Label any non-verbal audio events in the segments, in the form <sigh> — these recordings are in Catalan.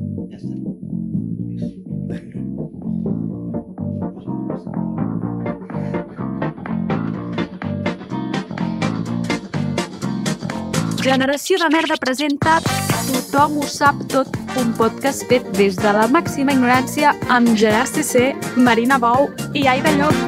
Ja està. Generació de Merda presenta Tothom ho sap tot, un podcast fet des de la màxima ignorància amb Gerard CC, Marina Bou i Aida Llop.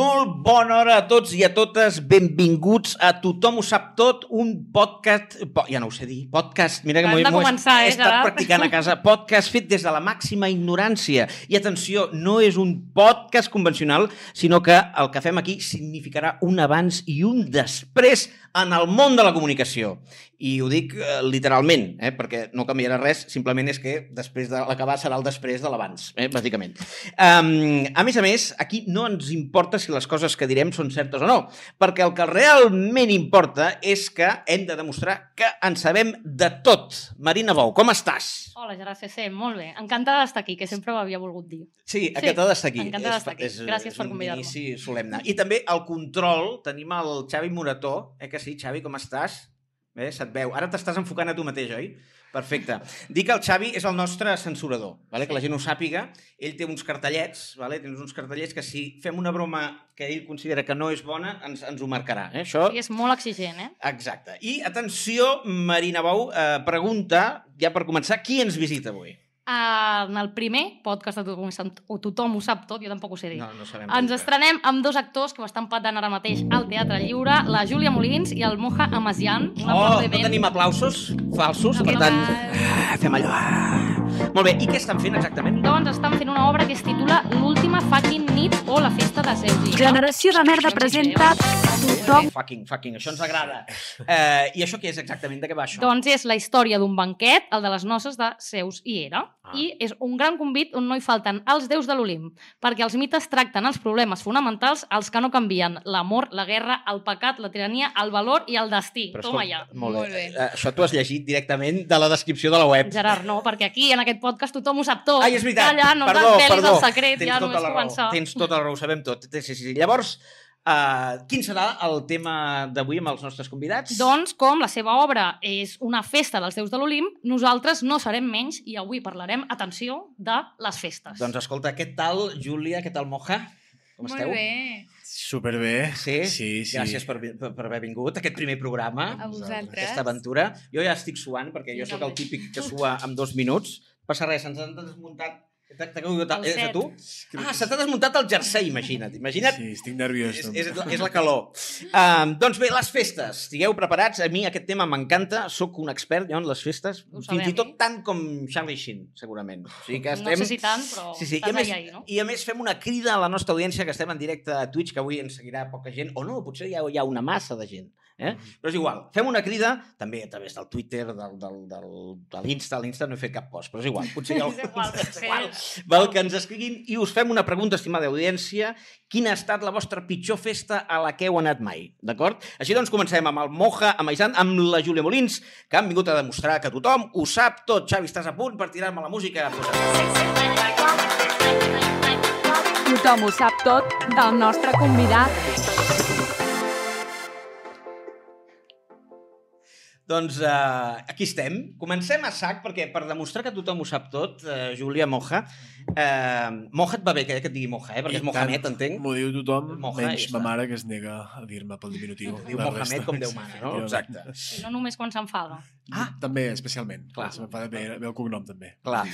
Molt bona hora a tots i a totes. Benvinguts a Tothom ho sap tot, un podcast... Po, ja no ho sé dir, podcast... Mira que Has m'ho he, de m'ho he- començar, he eh, estat Gerard? practicant a casa. Podcast fet des de la màxima ignorància. I atenció, no és un podcast convencional, sinó que el que fem aquí significarà un abans i un després en el món de la comunicació. I ho dic eh, literalment, eh, perquè no canviarà res, simplement és que després de l'acabar serà el després de l'abans, eh, bàsicament. Um, a més a més, aquí no ens importa si les coses que direm són certes o no, perquè el que realment importa és que hem de demostrar que en sabem de tot. Marina Bou, com estàs? Hola, Gerard CC, molt bé. Encantada d'estar aquí, que sempre ho havia volgut dir. Sí, encantada d'estar aquí. encantada És fa- d'estar aquí. és- Gràcies és per un convidar-me. inici <laughs> solemne. I també al control tenim el Xavi Morató. Eh que sí, Xavi, com estàs? Bé, se't veu. Ara t'estàs enfocant a tu mateix, oi? Perfecte. Dic que el Xavi és el nostre censurador, vale? que la gent ho sàpiga. Ell té uns cartellets, vale? tens uns cartellets que si fem una broma que ell considera que no és bona, ens, ens ho marcarà. Eh? Això... I és molt exigent, eh? Exacte. I atenció, Marina Bou eh, pregunta, ja per començar, qui ens visita avui? Ah, En el primer podcast de Tothom ho sap, o tothom ho sap tot, jo tampoc ho sé dir. No, no sabem. Ens com és. estrenem amb dos actors que ho estan patant ara mateix al Teatre Lliure, la Júlia Molins i el Moja Amazian. Un Oh, no aplaudiment. tenim aplausos falsos, Un per tant, aplaudiment. ah, fem allò. Ah. Molt bé, i què estan fent exactament? Doncs estan fent una obra que es titula L'última fucking nit o la festa de Zeus. i Hera. Generació de Merda presenta Tothom Fucking, fucking, això ens agrada. Eh, I això què és exactament? De què va això? Doncs és la història d'un banquet, el de les noces de Zeus i Hera. Ah. Ah. I és un gran convit on no hi falten els déus de l'Olimp, perquè els mites tracten els problemes fonamentals, els que no canvien, l'amor, la guerra, el pecat, la tirania, el valor i el destí. Però Toma ja. Molt bé. Molt bé. Eh, això t'ho has llegit directament de la descripció de la web. Gerard, no, perquè aquí, en aquest podcast, tothom ho sap tot. eh, Ai, és veritat. Calla, no perdó, ens desvelis perdó. el secret, Tens ja tota només la raó. començar. Tens tota la raó, ho sabem tot. Sí, sí, sí. Llavors, eh, quin serà el tema d'avui amb els nostres convidats? Doncs, com la seva obra és una festa dels déus de l'Olimp, nosaltres no serem menys i avui parlarem, atenció, de les festes. Doncs escolta, què tal, Júlia? Què tal, Moja? Com Molt esteu? bé, Superbé. Sí? Sí, sí. Gràcies per, vi- per, per haver vingut a aquest primer programa, a vosaltres. Doncs aquesta aventura. Jo ja estic suant, perquè jo Jo sóc el també. típic que sua en dos minuts. Passa res, ens han desmuntat... T'ha t'ha caigut... El És a set. tu? Ah, se t'ha desmuntat el jersei, imagina't. Imagina't Sí, estic nerviós. és, no? és, la- és la calor. Um, doncs bé, les festes. Estigueu preparats. A mi aquest tema m'encanta. Sóc un expert jo en les festes. Ho fins i sabem. eh? tot tant com Charlie Sheen, segurament. O sigui que estem... No sé si tant, però Sí, sí. I a, estàs més, allà, ahí, no? I a més fem una crida a la nostra audiència que estem en directe a Twitch, que avui ens seguirà poca gent, o no, potser hi ha, hi ha una massa de gent. Eh? Mm-hmm. Però és igual, fem una crida també a través del Twitter, del, del, del, de l'Insta, a l'Insta no he fet cap post, però és igual, potser hi ha <laughs> És igual, algú- potser. <laughs> Val que ens escriguin i us fem una pregunta, estimada audiència, quina ha estat la vostra pitjor festa a la que heu anat mai, d'acord? Així doncs comencem amb el Moja, amb Aizan, amb la Júlia Molins, que han vingut a demostrar que tothom ho sap tot. Xavi, estàs a punt per tirar-me la música? Posa'm. Tothom ho sap tot del nostre convidat. Doncs uh, aquí estem. Comencem a sac, perquè per demostrar que tothom ho sap tot, uh, Júlia Moja... Uh, Moja et va bé que, que et digui Moja, eh? I perquè és tant, Mohamed, entenc. M'ho diu tothom, Moja, menys ja ma està. mare, que es nega a dir-me pel diminutiu. Diu La Mohamed resta, com Déu mana, no? efectivament. Exacte. I no només quan s'enfada. Ah! També, especialment. Clar. Clar. Se m'enfada bé, bé el cognom, també. Clar.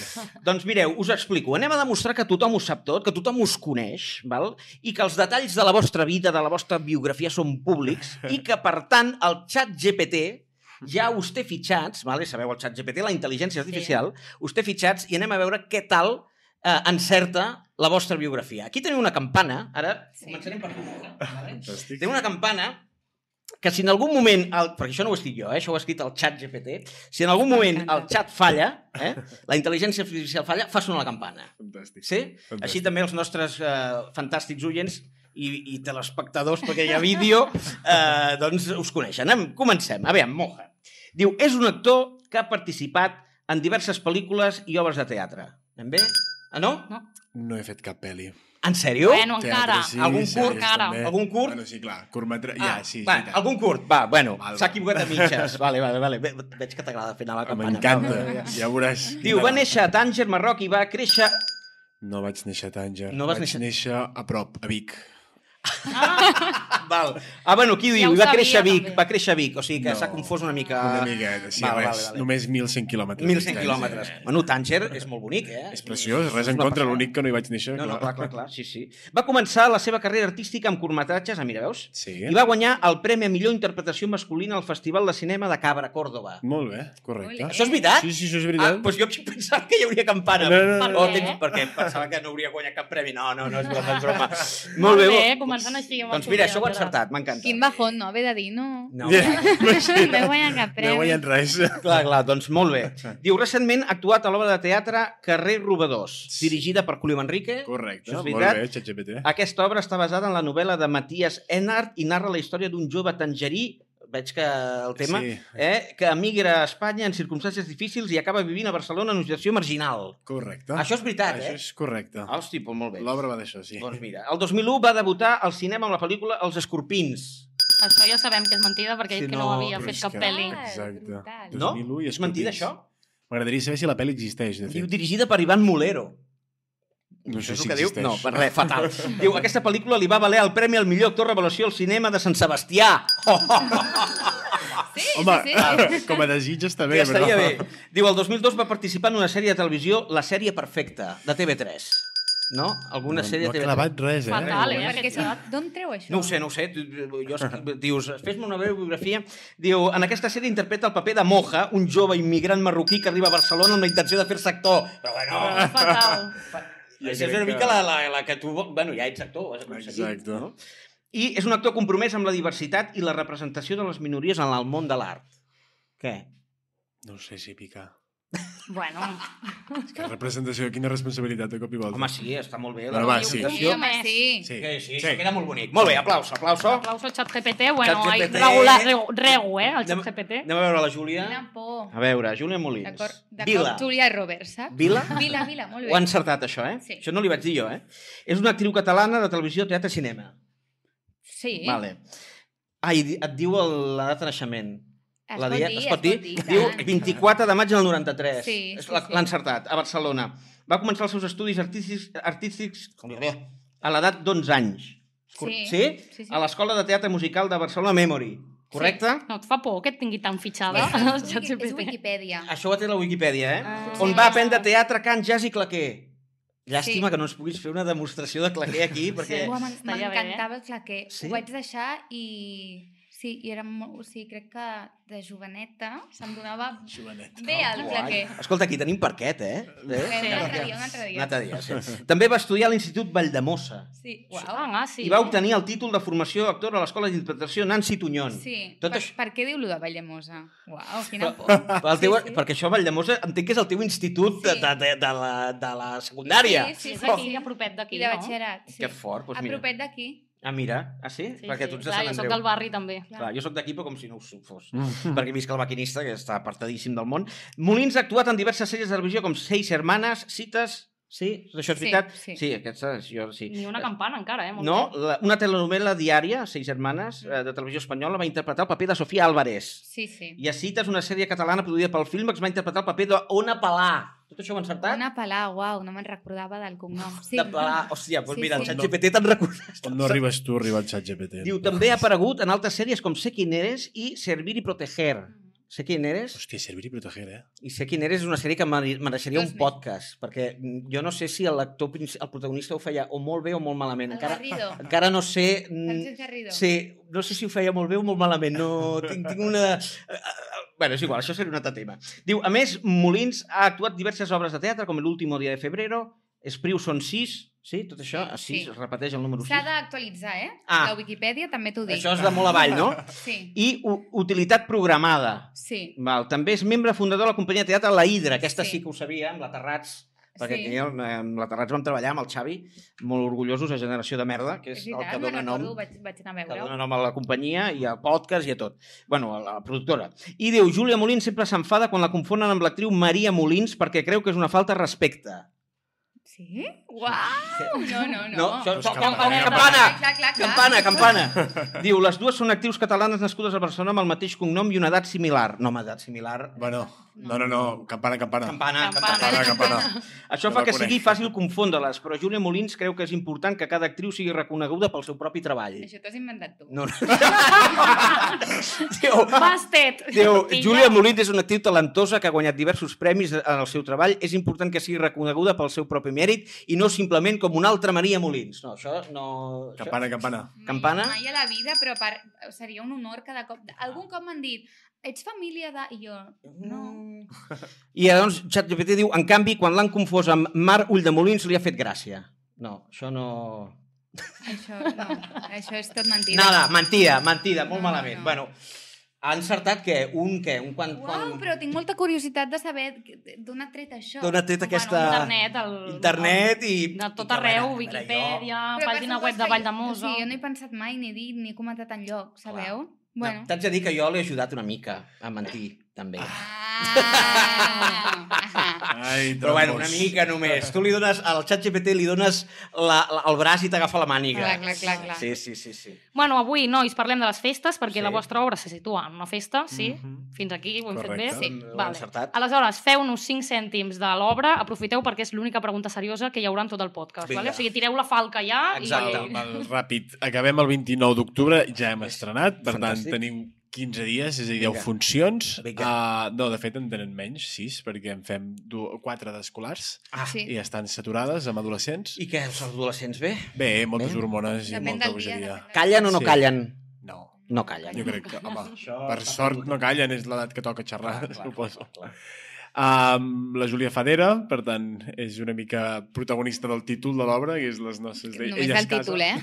Doncs mireu, us explico. Anem a demostrar que tothom ho sap tot, que tothom us coneix, val? i que els detalls de la vostra vida, de la vostra biografia són públics, i que, per tant, el xat GPT ja us té fitxats, vale? sabeu el xat GPT, la intel·ligència artificial, sí. us té fitxats i anem a veure què tal eh, encerta la vostra biografia. Aquí teniu una campana, ara sí. Sí. començarem per tu. Vale? Fantàstic. Té una campana que si en algun moment, el, perquè això no ho he escrit jo, eh? això ho ha escrit el xat GPT, si en algun moment el M'encanta. xat falla, eh? la intel·ligència artificial falla, fa sonar la campana. Fantàstic. Sí? Fantàstic. Així també els nostres eh, fantàstics oients i, i telespectadors, perquè hi ha vídeo, eh, doncs us coneixen. Anem, comencem. A veure, Moja. Diu, és un actor que ha participat en diverses pel·lícules i obres de teatre. Anem bé? Ah, no? No he fet cap pel·li. En sèrio? Bueno, encara. sí, Algun sèries curt, cara. també. Algun curt? Bueno, sí, clar, curtmetra... Ah, ja, sí, va, sí, i tant. algun curt, va, bueno, Val, s'ha val. equivocat a <laughs> mitges. Vale, vale, vale. Ve, veig que t'agrada fer anar la campana. M'encanta, Va, va, va. ja veuràs. Diu, va néixer a Tànger, Marroc, i va créixer... <laughs> No vaig néixer a Tànger. No vas vaig néixer- néixer a prop, a Vic. Ah, val. Ah, bueno, aquí ho Ja diu, ho i va sabia, créixer a Vic, també. va créixer a Vic, o sigui que No. s'ha confós una mica... Una miqueta, sí, Val, res. val, Ah. vale. Només 1.100 quilòmetres. 1.100 de quilòmetres. distància. Bueno, Tànger és molt bonic, eh? És preciós, res en una contra, passada. l'únic que no hi vaig néixer. No, no, clar, clar, clar, sí, sí. Va començar la seva carrera artística amb curtmetratges, ah, mira, veus? Sí, I va guanyar el Premi a Millor Interpretació Masculina al Festival de Cinema de Cabra, Córdoba. molt bé, correcte. Molt Això és veritat? Mm. Sí, sí, això és Ah, veritat. doncs jo pensava que hi hauria campana. No, no, no. O Per què? tens- perquè pensava que no hauria guanyat cap premi. No, no, no, doncs, és broma, <laughs> és broma. Molt bé, bé, bo- començant així. amb el doncs mira, això ho he Julià, encertat, m'encanta. Quin bajón, no? Haver de dir, no. No, Ja, clar, No he guanyat cap No he premi. guanyat res. <laughs> clar, clar, doncs molt bé. Diu, recentment ha actuat a l'obra de teatre Carrer Robadors, dirigida per Julio Manrique. Correcte, Això és molt veritat. Ah, bé, ChatGPT. Aquesta obra està basada en la novel·la de Matías Enart i narra la història d'un jove tangerí, veig que el tema, Sí, eh, que emigra a Espanya en circumstàncies difícils i acaba vivint a Barcelona en una situació marginal. correcte. Això és veritat, Ah, Això eh? és correcte. Ah, Hosti, doncs molt bé. L'obra va d'això, sí. Doncs mira, el 2001 va debutar al cinema amb la pel·lícula Els escorpins. Això ja sabem que és mentida perquè ha dit Sí, que no no, havia però fet és cap que- <laughs> pel·li. Ah, Exacte. brutal. No? 2001 i És mentida, Escorpins. això? M'agradaria saber si la pel·li existeix, de Diu, fet. dirigida per Ivan Molero. No Això sé és si el que diu? existeix. No, per res, fatal. diu, aquesta pel·lícula li va valer el Premi al millor actor revelació al cinema de Sant Sebastià. Oh, oh, oh, Sí, Home, sí, com a desig està bé, ja estaria bé. Diu, el 2002 va participar en una sèrie de televisió, La sèrie perfecta, de TV3. No? Alguna no, sèrie no de ha TV3. clavat res, eh? Fatal, eh? Perquè si... D'on treu això? No ho sé, no ho sé. Tu- Jo, es- dius, fes-me una breu biografia. Diu, en aquesta sèrie interpreta el paper de Moja, un jove immigrant marroquí que arriba a Barcelona amb la intenció de fer-se actor. Però <laughs> bueno... Fatal. Jo Això és crec una que- mica la, la, la que tu... vol- Bueno, ja ets actor, ho has aconseguit. Exacte. No? I és un actor compromès amb la diversitat i la representació de les minories en el món de l'art. Què? No sé si picar. Bueno, És que representació, quina responsabilitat de cop i volta. Home, sí, està molt bé. la Bueno, va, sí. representació. Home, sí. sí. Que sí, sí, queda molt bonic. Molt bé, aplauso, aplauso. aplauso al xat GPT, bueno, Chat ai, GPT. regular, regu, regu, eh, el xat Anem- GPT. Anem a veure la Júlia. Quina por. A veure, Júlia Molins. D'acord, Vila. d'acord. Julia Roberts, saps? Vila? Vila, Vila, molt Ho bé. ha encertat, això, eh? Sí. Això no li vaig dir jo, eh? És una actriu catalana de televisió, teatre, cinema. Sí. Vale. Ai, di- et diu el- la data de naixement. Es la pot dia- dir, es pot dir. i Diu tant. 24 de maig del 93. Sí, És sí, la- sí. L'ha encertat, a Barcelona. Va començar els seus estudis artístics, artístics com diu, a l'edat d'11 anys. Cor- Sí. sí? Sí, sí. A l'Escola de Teatre Musical de Barcelona Memory. Correcte? No, et fa por que et tingui tan fitxada el És, xat Wiki- és GPT. Wikipedia. Això ho té la Wikipedia, eh? Ah. On va aprendre teatre, cant, jazz i claquer. Llàstima Sí. que no ens puguis fer una demostració de claquer aquí, perquè... Uah, m'en- Estaria bé, M'encantava el claquer. Sí? Ho vaig deixar i... Sí, i era molt... O sigui, crec que de joveneta se'm donava Jovenet. bé el Ah, Guai. claquer. Escolta, aquí tenim parquet, eh? eh? Bé, un altre dia, un altre Un dia. altre dia, sí. També va estudiar a l'Institut Valldemossa Sí, uau. Ah, ah, sí. i va obtenir el títol de formació actora a l'Escola d'Interpretació Nancy Tunyón. Sí, Tot per, això- per què diu lo de Vallemosa? Uau, quina <laughs> por. Pel teu, Sí, sí. Perquè això, a Valldemossa, entenc que és el teu institut de, Sí. de, de, de, la, de la secundària. Sí, Sí, sí, és sí, aquí, sí. a propet d'aquí, I de no? batxillerat, sí. Que fort, doncs a mira. propet d'aquí. Ah, mira. Ah, sí? Sí, perquè sí, tu ets de clar, Sant Jo soc Andreu. del barri, també. Clar, jo sóc d'aquí, però com si no ho fos. Mm. eh, Perquè visc el maquinista, que està apartadíssim del món. Molins ha actuat en diverses sèries de televisió, com Seis Hermanes, Cites... Sí? Això és Sí, veritat? sí. sí aquesta, jo, sí. Ni una campana, encara, eh? molt No, bé. la, una telenovela diària, Seis Germanes, eh, de televisió espanyola, va interpretar el paper de Sofia Álvarez. Sí, sí. I a Cites, una sèrie catalana produïda pel film, que va interpretar el paper d'Ona Palà. Tot això ho he encertat? Una palà, uau, no me'n recordava del cognom. Sí. De Palà. <laughs> Hòstia, doncs Sí, mira, sí. el ChatGPT te'n recordes. On no arribes tu, arriba el ChatGPT. Diu, també ha aparegut en altres sèries com Sé quién eres i Servir i proteger. Mm. Sé quién eres Hòstia, servir i proteger, eh? i Sé quién eres és una sèrie que mere- mereixeria Dos un més. podcast, perquè mm, jo no sé si l'actor, princi- el protagonista ho feia o molt bé o molt malament. El Encara, <laughs> Garrido. encara no sé... mm, Francesc Garrido. Sí, no sé si ho feia molt bé o molt malament. No, tinc, tinc una... eh, Bueno, és igual, això seria un altre tema. Diu, a més, Molins ha actuat diverses obres de teatre, com L'último dia de febrero, Espriu són sis, sí, tot això, a sis, Sí. es repeteix el número S'ha 6. d'actualitzar, eh? Ah. La Wikipedia també t'ho dic. Això és de molt avall, no? <laughs> Sí, I u- utilitat programada. sí. Val, també és membre fundador de la companyia de teatre La Hidra, aquesta sí, Sí. que ho sabia, amb la Terrats, perquè sí. aquí, eh, amb la Terrats vam treballar amb el Xavi, molt orgullosos de Generació de Merda, que és, És el veritat, que me'n dona nom recordo, ho vaig, vaig anar a que dona veure-ho. nom a la companyia i al podcast i a tot. bueno, a la productora. I diu, Júlia Molins sempre s'enfada quan la confonen amb l'actriu Maria Molins perquè creu que és una falta de respecte. Sí? Uau! No, no, no. No, això Doncs és campana. campana. Campana, Clar, clar, clar. campana, campana. Diu, les dues són actrius catalanes nascudes a Barcelona amb el mateix cognom i una edat similar. No, home, edat similar... Bueno, no, no, no, campana, campana. Campana, Campana. campana. Campana, campana. Això Jo fa la que conec. sigui fàcil confondre-les, però Júlia Molins creu que és important que cada actriu sigui reconeguda pel seu propi treball. Això t'has inventat tu. No, <laughs> no. Diu, Bastet! Diu, Filla. Júlia Molins és una actriu talentosa que ha guanyat diversos premis en el seu treball. És important que sigui reconeguda pel seu propi mèrit i no simplement com una altra Maria Molins. No, això no... això- Campana, campana. Ah. Mai- Campana? Mai a la vida, però per... seria un honor cada cop. Algun cop m'han dit, ets família de... I jo, no. I llavors ChatGPT diu, en canvi, quan l'han confós amb Mar Ulldemolins li ha fet gràcia. No, això no... Això, no. Això és tot mentida. Nada, mentida, mentida, molt No, malament. no. Bueno, ha encertat que un, què? Un quan... Uau, quan... però tinc molta curiositat de saber d'on ha tret això. D'on ha tret aquesta- Internet, el, Internet i... el, de tot i que, bueno, a arreu, veure, Wikipedia, Però per pàgina suposat web de que Vall de jo- Mosa... O sigui, jo no he pensat mai, ni dit, ni comentat enlloc, sabeu? Jo... Bueno. T'haig de dir que jo l'he ajudat una mica a mentir, també. Ah. <laughs> Ah. Ai, Però bueno, una trombos. mica només. Tu li dones, al xat GPT li dones la, la, el braç i t'agafa la màniga. Clar, clar, clar, clar. Sí, sí, sí. sí. Bueno, avui, nois, parlem de les festes, perquè Sí. sí. la vostra obra se situa en una festa, sí? Mm Mhm. -hmm. Fins aquí ho hem Correcte. fet bé? Sí, ho he Vale. encertat. Aleshores, feu-nos 5 cèntims de l'obra, aprofiteu perquè és l'única pregunta seriosa que hi haurà en tot el podcast, Vinga. vale? o sigui, tireu la falca ja Exacte. i... Val, ràpid. Acabem el 29 d'octubre, ja hem estrenat, per Fantàstic. tant tenim 15 dies, és a dir, 10 Vinga. funcions. Vinga. Uh, no, de fet en tenen menys, 6, perquè en fem 4 d'escolars Ah, Sí. i estan saturades amb adolescents. I què, els adolescents bé? Bé, eh, moltes Bé. hormones i Depèn molta del dia. bogeria. depèn del- Callen o no Sí. callen? No, No callen. jo crec que, home, Això per està sort perdut. no callen, és l'edat que toca xerrar, Clar, clar, suposo. clar, clar. Um, la Júlia Fadera, per tant, és una mica protagonista del títol de l'obra, que és les nostres... Només Ella es el casa. títol, eh?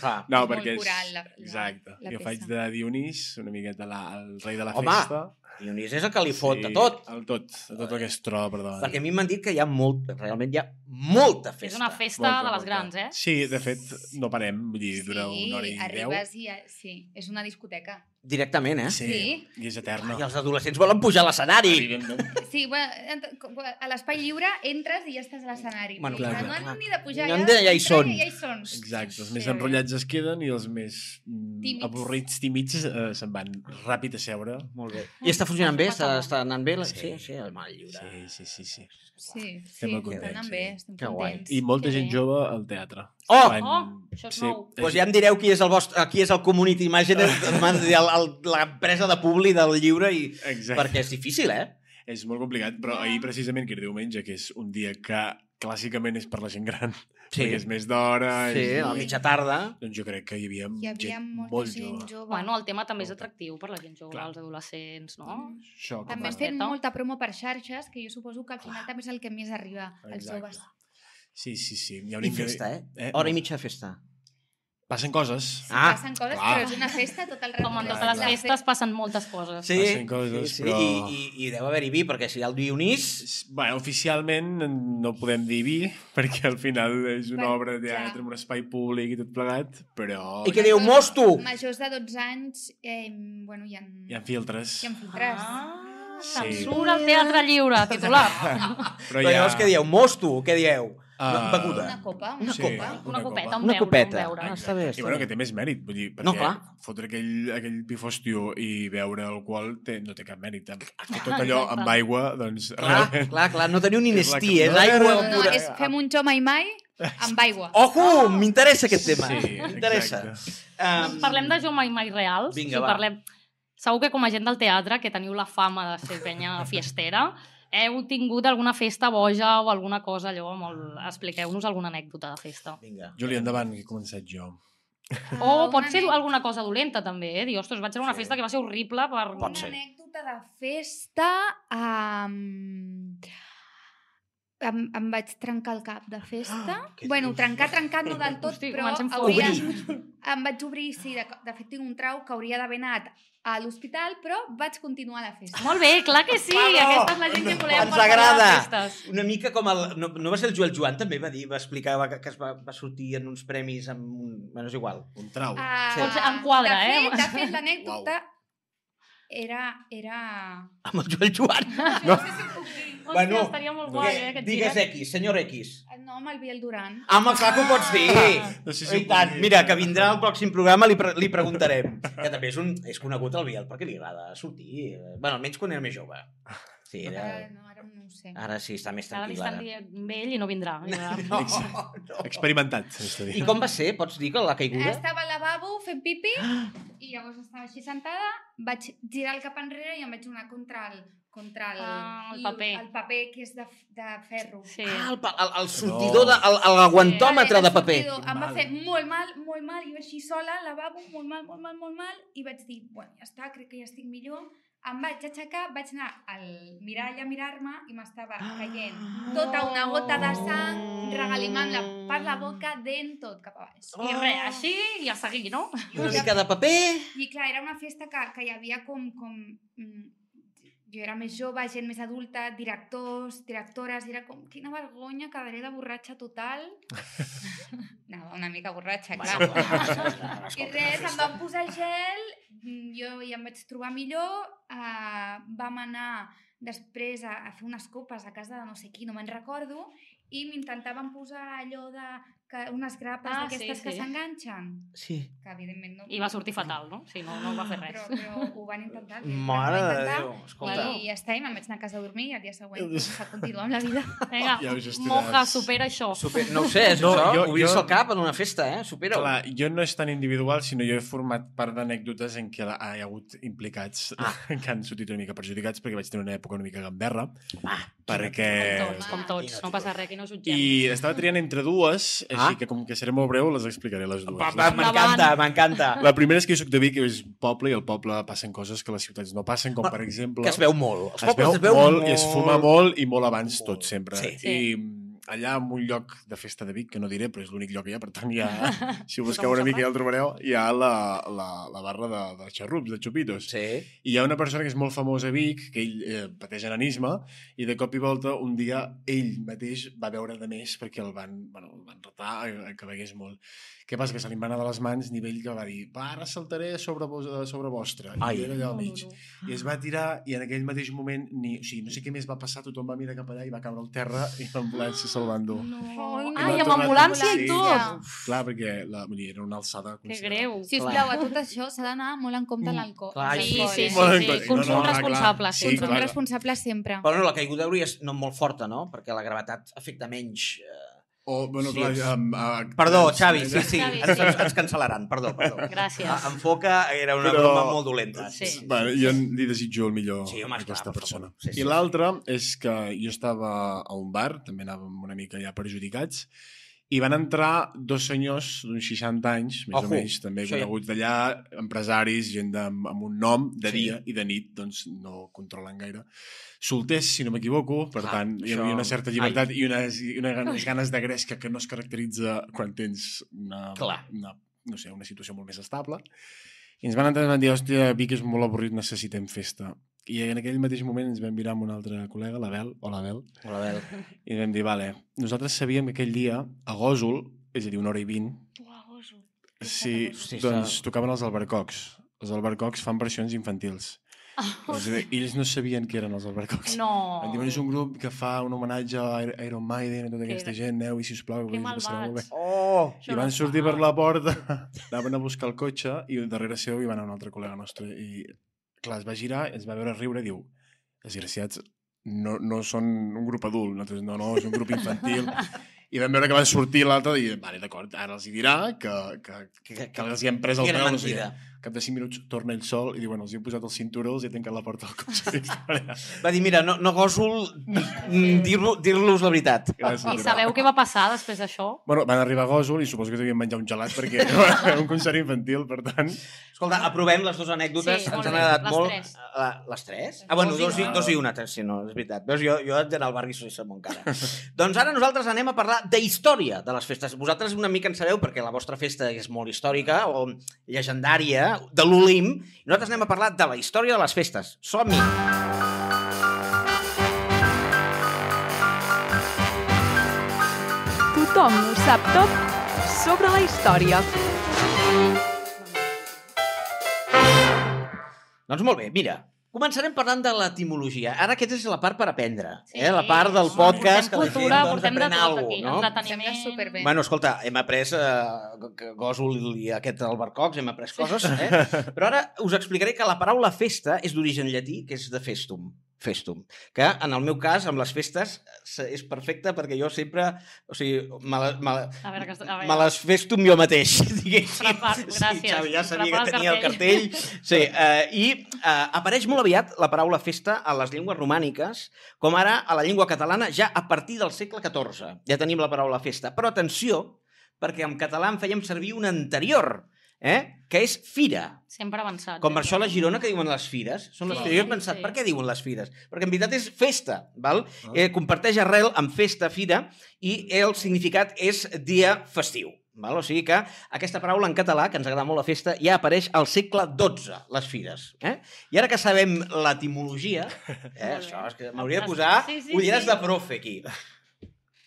Clar. No, És molt perquè és... coral, la- la- Exacte. la jo peça. faig de Dionís, una miqueta la, el rei de la Home, festa. Dionís és el que li fot de tot. El tot, de tot el que es troba per davant. Perquè a mi m'han dit que hi ha molt, realment hi ha molta festa. És una festa Molta, de les molta. grans, eh? Sí, de fet, no parem, vull dir, dura una hora i deu. arribes i... Sí, és una discoteca. Directament, eh? Sí, Sí. i és No. eterna. I els adolescents volen pujar a l'escenari. Arribem, no? Sí, bueno, ent- com- a l'espai lliure entres i ja estàs a l'escenari. Bueno, Vull dir, clar, no clar, han clar. ni de pujar, No han de- ja hi entren són. i Ja hi són. Exacte, els més Sí. enrotllats es queden i els més mm, Tímids. avorrits, tímids, eh, se'n van ràpid a seure. Molt bé. I està funcionant bé? Està, està anant bé? La... Sí, Sí. sí, sí el mal lliure. Sí, sí, sí, sí. Sí, sí, Estem molt estan contents, anant sí. bé, estem Que guai. contents. I molta Que gent bé. jove al teatre. Oh! Oh, això és nou. Pues Doncs ja em direu qui és el vostre, qui és el community <laughs> manager, l'empresa de publi del llibre, i... Exacte. perquè és difícil, eh? És molt complicat, però ahir precisament, que era diumenge, que és un dia que clàssicament és per la gent gran, sí. perquè és més d'hora... sí és... a la mitja tarda. Doncs jo crec que hi havia, Hi havia gent molta molt gent jove. jove. Bueno, el tema també és Molta. atractiu per la gent jove, Clar. els adolescents, no? Això, que també passa. fent Teta. molta promo per xarxes, que jo suposo que al final també és el que més arriba als Ah. Exacte. joves. Sí, sí, sí. Hi ha un I incre- festa, eh? Eh, Hora i no. mitja de festa. Passen coses. Sí, Ah, passen coses, clar. però és una festa tot el rato. Com en Clar, totes les clar. festes passen moltes coses. Sí, Passen coses, sí, sí. però- I, i, i deu haver-hi vi, perquè si hi ha el Dionís... Bé, oficialment no podem dir vi, <laughs> perquè al final és una Clar, obra de clar. teatre, un espai públic i tot plegat, però I què diu, mosto? Majors de 12 anys, eh, bueno, hi ha, hi ha filtres. hi ha filtres. Ah, Sí. censura al teatre lliure, titular. <laughs> Però llavors què dieu? Mosto? Què dieu? Ah, Beguda. Una copa, una Sí. copa. Una Una copeta, copa. un Una beure, copeta. un beure. Ah, Exacte. està bé, I està bueno, bé. que té més mèrit, vull dir, perquè No, no, clar. fotre aquell, aquell pifòstio i beure alcohol té, no té cap mèrit. eh? Tot allò amb aigua, doncs... Clar, clar, clar, no teniu ni nestí, és aigua No, no, pura. és fem un xo mai mai amb aigua. Ojo, m'interessa aquest tema. Sí, m'interessa. exacte. Um, Doncs parlem de Jo mai mai reals. Vinga, o sigui, va. parlem... Segur que com a gent del teatre, que teniu la fama de ser <laughs> penya fiestera, heu tingut alguna festa boja o alguna cosa allò molt... Expliqueu-nos alguna anècdota de festa. Vinga. Juli, endavant, que he començat jo. Ah, O una pot ser anècdota- alguna cosa dolenta, també, eh? Dir, ostres, vaig a una Sí. festa que va ser horrible per... Pot ser. Una anècdota de festa... Um... Em, em vaig trencar el cap de festa. Ah, què bueno, dius? trencar, trencar no del tot, Hosti, però comencem fort. hauria... Obrir. Em vaig obrir, sí, de, de fet tinc un trau que hauria d'haver anat a l'hospital, però vaig continuar la festa. Molt bé, clar que sí! Bravo! Aquesta és la gent que volem Ens per parlar de agrada. festes. Una mica com el... No, no va ser el Joel Joan, també va dir, va explicar va, que es va, va sortir en uns premis amb un... Bueno, és igual. Un trau. Ah, Sí. Doncs em quadra, de eh? fet, De fet, l'anècdota era... era... Amb el Joel Joan. No, sé si puc dir. Hòstia, Bueno, estaria molt guai, eh, aquest Digues giret. X, senyor X. No, amb el Biel Duran. Home, clar que ho pots dir. No sé si Oh, I ho puc tant, dir. mira, que vindrà al pròxim programa, li, pre li preguntarem. Que també és, un, és conegut el Biel, perquè li agrada sortir. eh, Bueno, almenys quan era més jove. Sí, era... Ara, no, ara no ho sé. Ara sí, està més Ara li tranquil. estan Ara. dient ell i no vindrà. I <laughs> ara- No, no. Experimentat, s'està I dient. com va ser? Pots dir que la caiguda? Estava al lavabo fent pipi Ah. i llavors estava així sentada, vaig girar el cap enrere i em vaig donar contra el, contra el, Ah, el i- paper. el paper que és de, f- de ferro. Sí. Ah, el, pa- el, el sortidor, de, el, el aguantòmetre de Vale, paper. el sortidor Em va Mal. fer molt mal, molt mal, i vaig així sola al lavabo, molt mal, molt mal, molt mal, i vaig dir, bueno, ja està, crec que ja estic millor. Em vaig aixecar, vaig anar al mirall a mirar-me i m'estava caient tota una gota de sang, regalimant-la per la boca, dent tot cap a baix. I res, així i a seguir, no? Una mica de paper. I clar, era una festa que, que hi havia com... com mm, jo era més jove, gent més adulta, directors, directores, i era com, quina vergonya, quedaré de borratxa <laughs> total. Anava una mica borratxa, clar. I res, em van posar gel, mm, jo ja em vaig trobar millor, eh, vam anar després a, a fer unes copes a casa de no sé qui, no me'n recordo, i m'intentaven posar allò de que, unes grapes Ah, d'aquestes sí, que sí. s'enganxen, Sí. que evidentment no... I va sortir fatal, no? Sí, no, no va fer res. Però, però ho van intentar. el dia Mare que ho van de intentar, Déu, escolta. I ja està, i me'n vaig anar a casa a dormir i el dia següent Déu. doncs, a continuar amb la vida. <laughs> Vinga, Ja ho gestionaràs. moja, supera això. Super... No ho sé, és No, això? jo- Obrir-se el jo- cap en una festa, eh? Supera-ho. Clar, jo no és tan individual, sinó jo he format part d'anècdotes en què hi ha hagut implicats Ah. <laughs> que han sortit una mica perjudicats perquè vaig tenir una època una mica gamberra, Va. perquè... Com tots, com tots. No passa res, aquí no jutgem. I estava triant entre dues, Ah. així que com que seré molt breu, les explicaré les dues. Va, va, M'encanta, m'encanta. La primera és que jo soc de Vic, que és poble, i al poble passen coses que a les ciutats no passen, com Ah, per exemple... Que es veu molt. Els es veu, pobles molt, i es fuma molt, i molt abans Molt. tot, sempre. Sí. Sí. I mm, allà, en un lloc de festa de Vic, que no diré, però és l'únic lloc que hi ha, per tant, ja, si ho busqueu una mica ja el trobareu, hi ha la, la, la barra de, de xarrups, de xupitos. Sí. I hi ha una persona que és molt famosa a Vic, que ell eh, pateix enanisme, i de cop i volta un dia ell mateix va veure de més perquè el van, bueno, el van retar a- a que begués molt. Què passa? Que se li va anar de les mans nivell que va dir va, ara saltaré sobre, vos, eh, sobre vostra. Ai. I jo era allà al mig. I es va tirar i en aquell mateix moment, ni, o sigui, no sé què més va passar, tothom va mirar cap allà i va caure al terra i l'ambulància se'l va endur. Ai, Ah, va i amb tornar a ambulància i tornar. tot. Clar, perquè la, vull dir, era una alçada. Que considerable. greu. Si us plau, a tot això s'ha d'anar molt en compte a l'alcohol. Clar, Sí, Amb Ai, sí, l'alcohol, sí, sí, eh? Molt en sí. compte. consum No, no, clar, responsable, clar. sí. Sí, Consum clar. responsable sempre. Però no, la caiguda hauria de ser no molt forta, no? Perquè la gravetat afecta menys... Eh... O, bueno, Sí, clar, és- amb, a, Perdó, Xavi, sí, sí, Xavi, ens, sí. ens, ens cancel·laran, perdó, perdó. Gràcies. Ah, En Foca era una Però- broma molt dolenta. Sí. Bueno, Doncs, jo li desitjo el millor Sí, sí, home, home, a esclar, aquesta per favor. persona. Sí, sí, I sí. l'altra és que jo estava a un bar, també anàvem una mica ja perjudicats, i van entrar dos senyors d'uns 60 anys, més Ojo, o menys, també això ja- coneguts d'allà, empresaris, gent de, amb un nom, de Sí. sí. dia i de nit, doncs no controlen gaire. Solters, si no m'equivoco, per Ah, ah, tant, hi això- havia una certa llibertat Ai. i unes, i unes ganes- ganes de gresca que no es caracteritza quan tens una, Clar. una, no sé, una situació molt més estable. I ens van entrar i ens van dir, hòstia, Vic és molt avorrit, necessitem festa. I en aquell mateix moment ens vam mirar amb un altre col·lega, l'Abel, o l'Abel, Hola, Abel. i vam dir, vale, nosaltres sabíem que aquell dia, a Gòsol, és a dir, una hora i vint, Buah, goso. sí, Hòstia, doncs això- tocaven els albercocs. Els albercocs fan versions infantils. Oh, ells no sabien què eren els albercocs. No. Em diuen, és un grup que fa un homenatge a Air- Iron Maiden i tota Que- aquesta gent, aneu i sisplau, que que us passarà molt malvats. bé. Oh! I van sortir per la porta, <laughs> anaven a buscar el cotxe i darrere seu hi va anar un altre col·lega nostre. I clar, es va girar, ens va veure riure i diu desgraciats, no, no són un grup adult, nosaltres no, no, és un <laughs> grup infantil. I vam veure que van sortir l'altre i vale, d'acord, ara els hi dirà que, que, que, que els hi han pres el Que era peu. No sé. mentida. què. Cap de 5 minuts torna ell sol i diu, bueno, els hi he posat el cinturó, els he tancat la porta del <laughs> cotxe. Va dir, mira, no, no goso mm, dir-lo- dir-los dir la veritat. Gràcies. I sabeu què va passar després d'això? Bueno, van arribar a Gòsol i suposo que devien menjar un gelat perquè era <laughs> un concert infantil, per tant... Escolta, aprovem les dues anècdotes, Ah. Sí, ens molt han bé. agradat Les molt. tres. Eh, Les tres? Ah, bueno, dos, Dos i, i dos i una, tres, sí, no, és veritat. Veus, jo, jo haig d'anar al barri Suïssa Montcada. <laughs> doncs ara nosaltres anem a parlar de història de les festes. Vosaltres una mica en sabeu, perquè la vostra festa és molt històrica o llegendària, de l'Olim. Nosaltres anem a parlar de la història de les festes. Som-hi! Tothom ho sap tot sobre la història. Doncs molt bé, mira, començarem parlant de l'etimologia. Ara aquesta és la part per aprendre, Sí, eh? la part del podcast portem que doncs cultura, de portem de tot aquí, no? entreteniment... Sembla superbé. Bueno, escolta, hem après eh, Gòsol i aquest Albercocs, hem après coses, eh? Però ara us explicaré que la paraula festa és d'origen llatí, que és de festum, festum, que en el meu cas, amb les festes, s- és perfecta perquè jo sempre, o sigui, me, la, me, la, A veure, que, a veure. me les festum jo mateix, <laughs> diguéssim. Prepar- gràcies. Sí, Xavi, ja sabia que Prepara el tenia el cartell. cartell. Sí, eh, I eh, apareix molt aviat la paraula festa a les llengües romàniques, com ara a la llengua catalana ja a partir del segle XIV. Ja tenim la paraula festa. Però atenció, perquè en català en fèiem servir una anterior, eh? que és fira. Sempre avançat. Com per això a la Girona que diuen les fires. Són les Sí, fires. Jo he sí, pensat, sí. per què diuen les fires? Perquè en veritat és festa, val? Ah. Eh, comparteix arrel amb festa, fira, i el significat és dia festiu. Val? O sigui que aquesta paraula en català, que ens agrada molt la festa, ja apareix al segle XII, les fires. Eh? I ara que sabem l'etimologia, eh, Molt bé. això és que m'hauria de posar Sí, sí, ulleres sí. de profe aquí.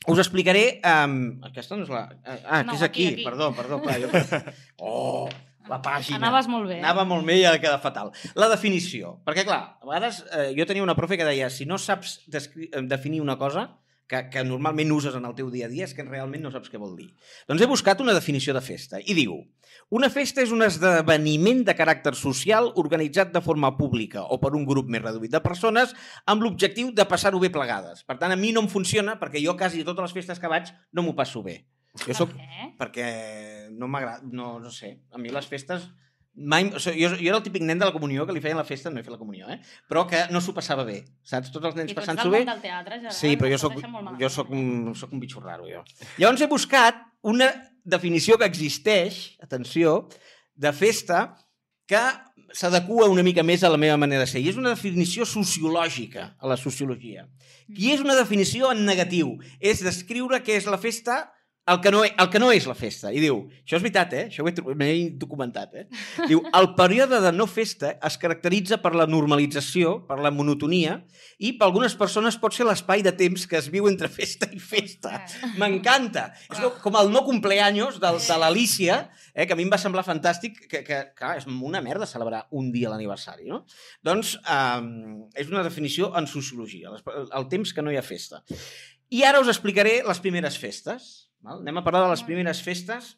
Us explicaré... Um, aquesta no és la... Ah, No, que és aquí, aquí, aquí. perdó, perdó. Clar, jo... Oh, la pàgina. Anaves molt bé. Anava molt bé i ara queda fatal. La definició. Perquè, clar, a vegades eh, jo tenia una profe que deia si no saps descri- eh, definir una cosa que, que normalment uses en el teu dia a dia és que realment no saps què vol dir. Doncs he buscat una definició de festa i diu una festa és un esdeveniment de caràcter social organitzat de forma pública o per un grup més reduït de persones amb l'objectiu de passar-ho bé plegades. Per tant, a mi no em funciona perquè jo quasi a totes les festes que vaig no m'ho passo bé. Jo sóc Eh? perquè no m'agrada, no, no sé, a mi les festes mai, o sigui, jo, jo era el típic nen de la comunió que li feien la festa, no he fet la comunió, eh? però que no s'ho passava bé, saps? Tots els I nens tu ets passant-s'ho del bé. món del teatre, Gerard. Sí, però jo et soc, deixa molt malament. jo soc un, soc un bitxo raro, jo. Llavors he buscat una definició que existeix, atenció, de festa que s'adequa una mica més a la meva manera de ser. I és una definició sociològica, a la sociologia. I és una definició en negatiu. És descriure què és la festa el que, no, e- el que no és la festa. I diu, això és veritat, eh? Això ho he tro- m'he documentat, eh? Diu, el període de no festa es caracteritza per la normalització, per la monotonia, i per algunes persones pot ser l'espai de temps que es viu entre festa i festa. Ostres. M'encanta. És com- com el no cumpleaños del, de l'Alicia, eh, que a mi em va semblar fantàstic, que, que clar, és una merda celebrar un dia l'aniversari, no? Doncs eh, és una definició en sociologia, les- el temps que no hi ha festa. I ara us explicaré les primeres festes. Val? Anem a parlar de les primeres festes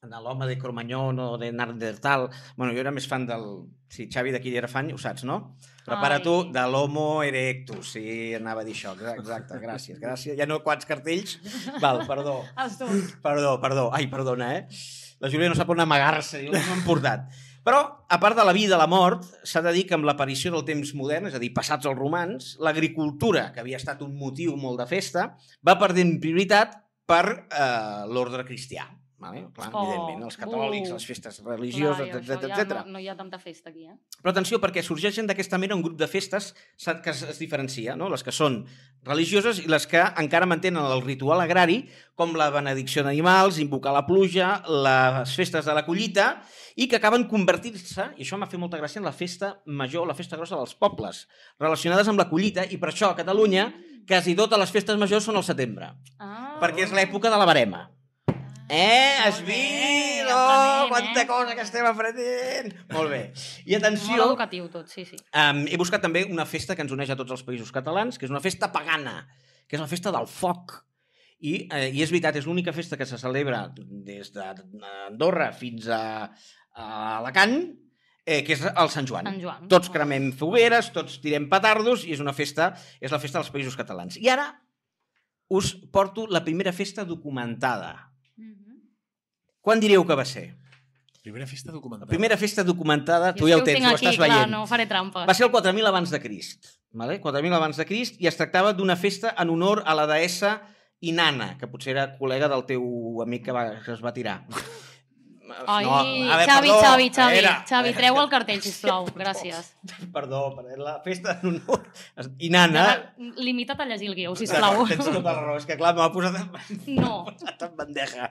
en l'home de Cromanyón o de Nardertal. bueno, jo era més fan del... Si Xavi d'aquí era fan, ho saps, no? Prepara Ai. tu de l'Homo erectus. Sí, anava a dir això. Exacte, gràcies, gràcies. Ja no quants cartells? Val, perdó. Els dos. Perdó, perdó. Ai, perdona, eh? La Júlia no sap on amagar-se, diu, no m'han portat. Però, a part de la vida i la mort, s'ha de dir que amb l'aparició del temps modern, és a dir, passats els romans, l'agricultura, que havia estat un motiu molt de festa, va perdent prioritat per eh, l'ordre cristià. Vale? Clar, Oh, evidentment, els catòlics, uh. les festes religioses, Clar, i etc això ja etc. No, no hi ha tanta festa aquí, eh? Però atenció, perquè sorgeixen d'aquesta manera un grup de festes sa- que es, es diferencia, no? les que són religioses i les que encara mantenen el ritual agrari, com la benedicció d'animals, invocar la pluja, les festes de la collita, i que acaben convertint-se, i això m'ha fet molta gràcia, en la festa major, la festa grossa dels pobles, relacionades amb la collita, i per això a Catalunya quasi totes les festes majors són al setembre, Ah, perquè és l'època de la barema. Eh, has Molt bé, vist? Oh, aprenent, quanta eh? cosa que estem aprenent! Molt bé. I Molt atenció, educatiu tot, sí, sí. Um, he buscat també una festa que ens uneix a tots els països catalans, que és una festa pagana, que és la festa del foc. I, eh, i és veritat, és l'única festa que se celebra des d'Andorra fins a, a Alacant, eh, que és el Sant Joan. Sant Joan. Tots cremem fogueres, tots tirem petardos i és una festa, és la festa dels països catalans. I ara us porto la primera festa documentada. Mhm. Quan diríeu que va ser? Primera festa documentada. La primera festa documentada, tu Jo és ja que ho tens, tinc ho aquí, estàs clar, veient. No faré trampes. Va ser el 4000 abans de Crist, vale? 4000 abans de Crist, i es tractava d'una festa en honor a la deessa Inanna, que potser era col·lega del teu amic que, va, que es va tirar. Ai, No, a veure, Xavi, perdó, Xavi, a Xavi, veure, Xavi, treu el cartell, sisplau. Gràcies. <laughs> Perdó, per la festa en honor a Inanna... Ara, Limita't a llegir el guió, <laughs> sisplau. Tens tota la raó, és que clar, m'ha posat, en- <laughs> No. m'ha posat en bandeja.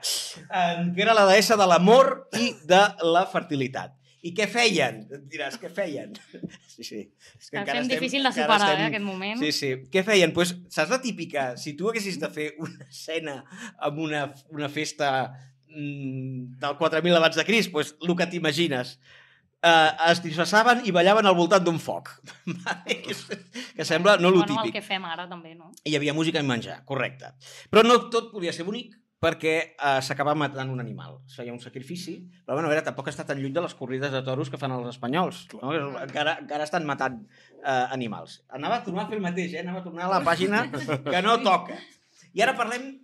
Em, Que era la deessa de l'amor i de la fertilitat. I què feien? Et diràs, què feien? <laughs> Sí, sí. És Que encara fem estem- difícil de encara superar, estem- eh, aquest moment. Sí, sí. Què feien? Pues, saps la típica? Si tu haguessis de fer una escena amb una, una festa mm, del 4.000 abans de Cris, pues, el que t'imagines. eh, es disfressaven i ballaven al voltant d'un foc. <laughs> que, que sembla no lo bueno, el típic. que fem ara també, no? Hi havia música i menjar, correcte. Però no tot podia ser bonic perquè eh, s'acabava matant un animal. Es feia un sacrifici, però bueno, a veure, tampoc està tan lluny de les corrides de toros que fan els espanyols. No? Encara, encara estan matant eh, animals. Anava a tornar a fer el mateix, eh? anava a tornar a la pàgina que no toca. I ara parlem...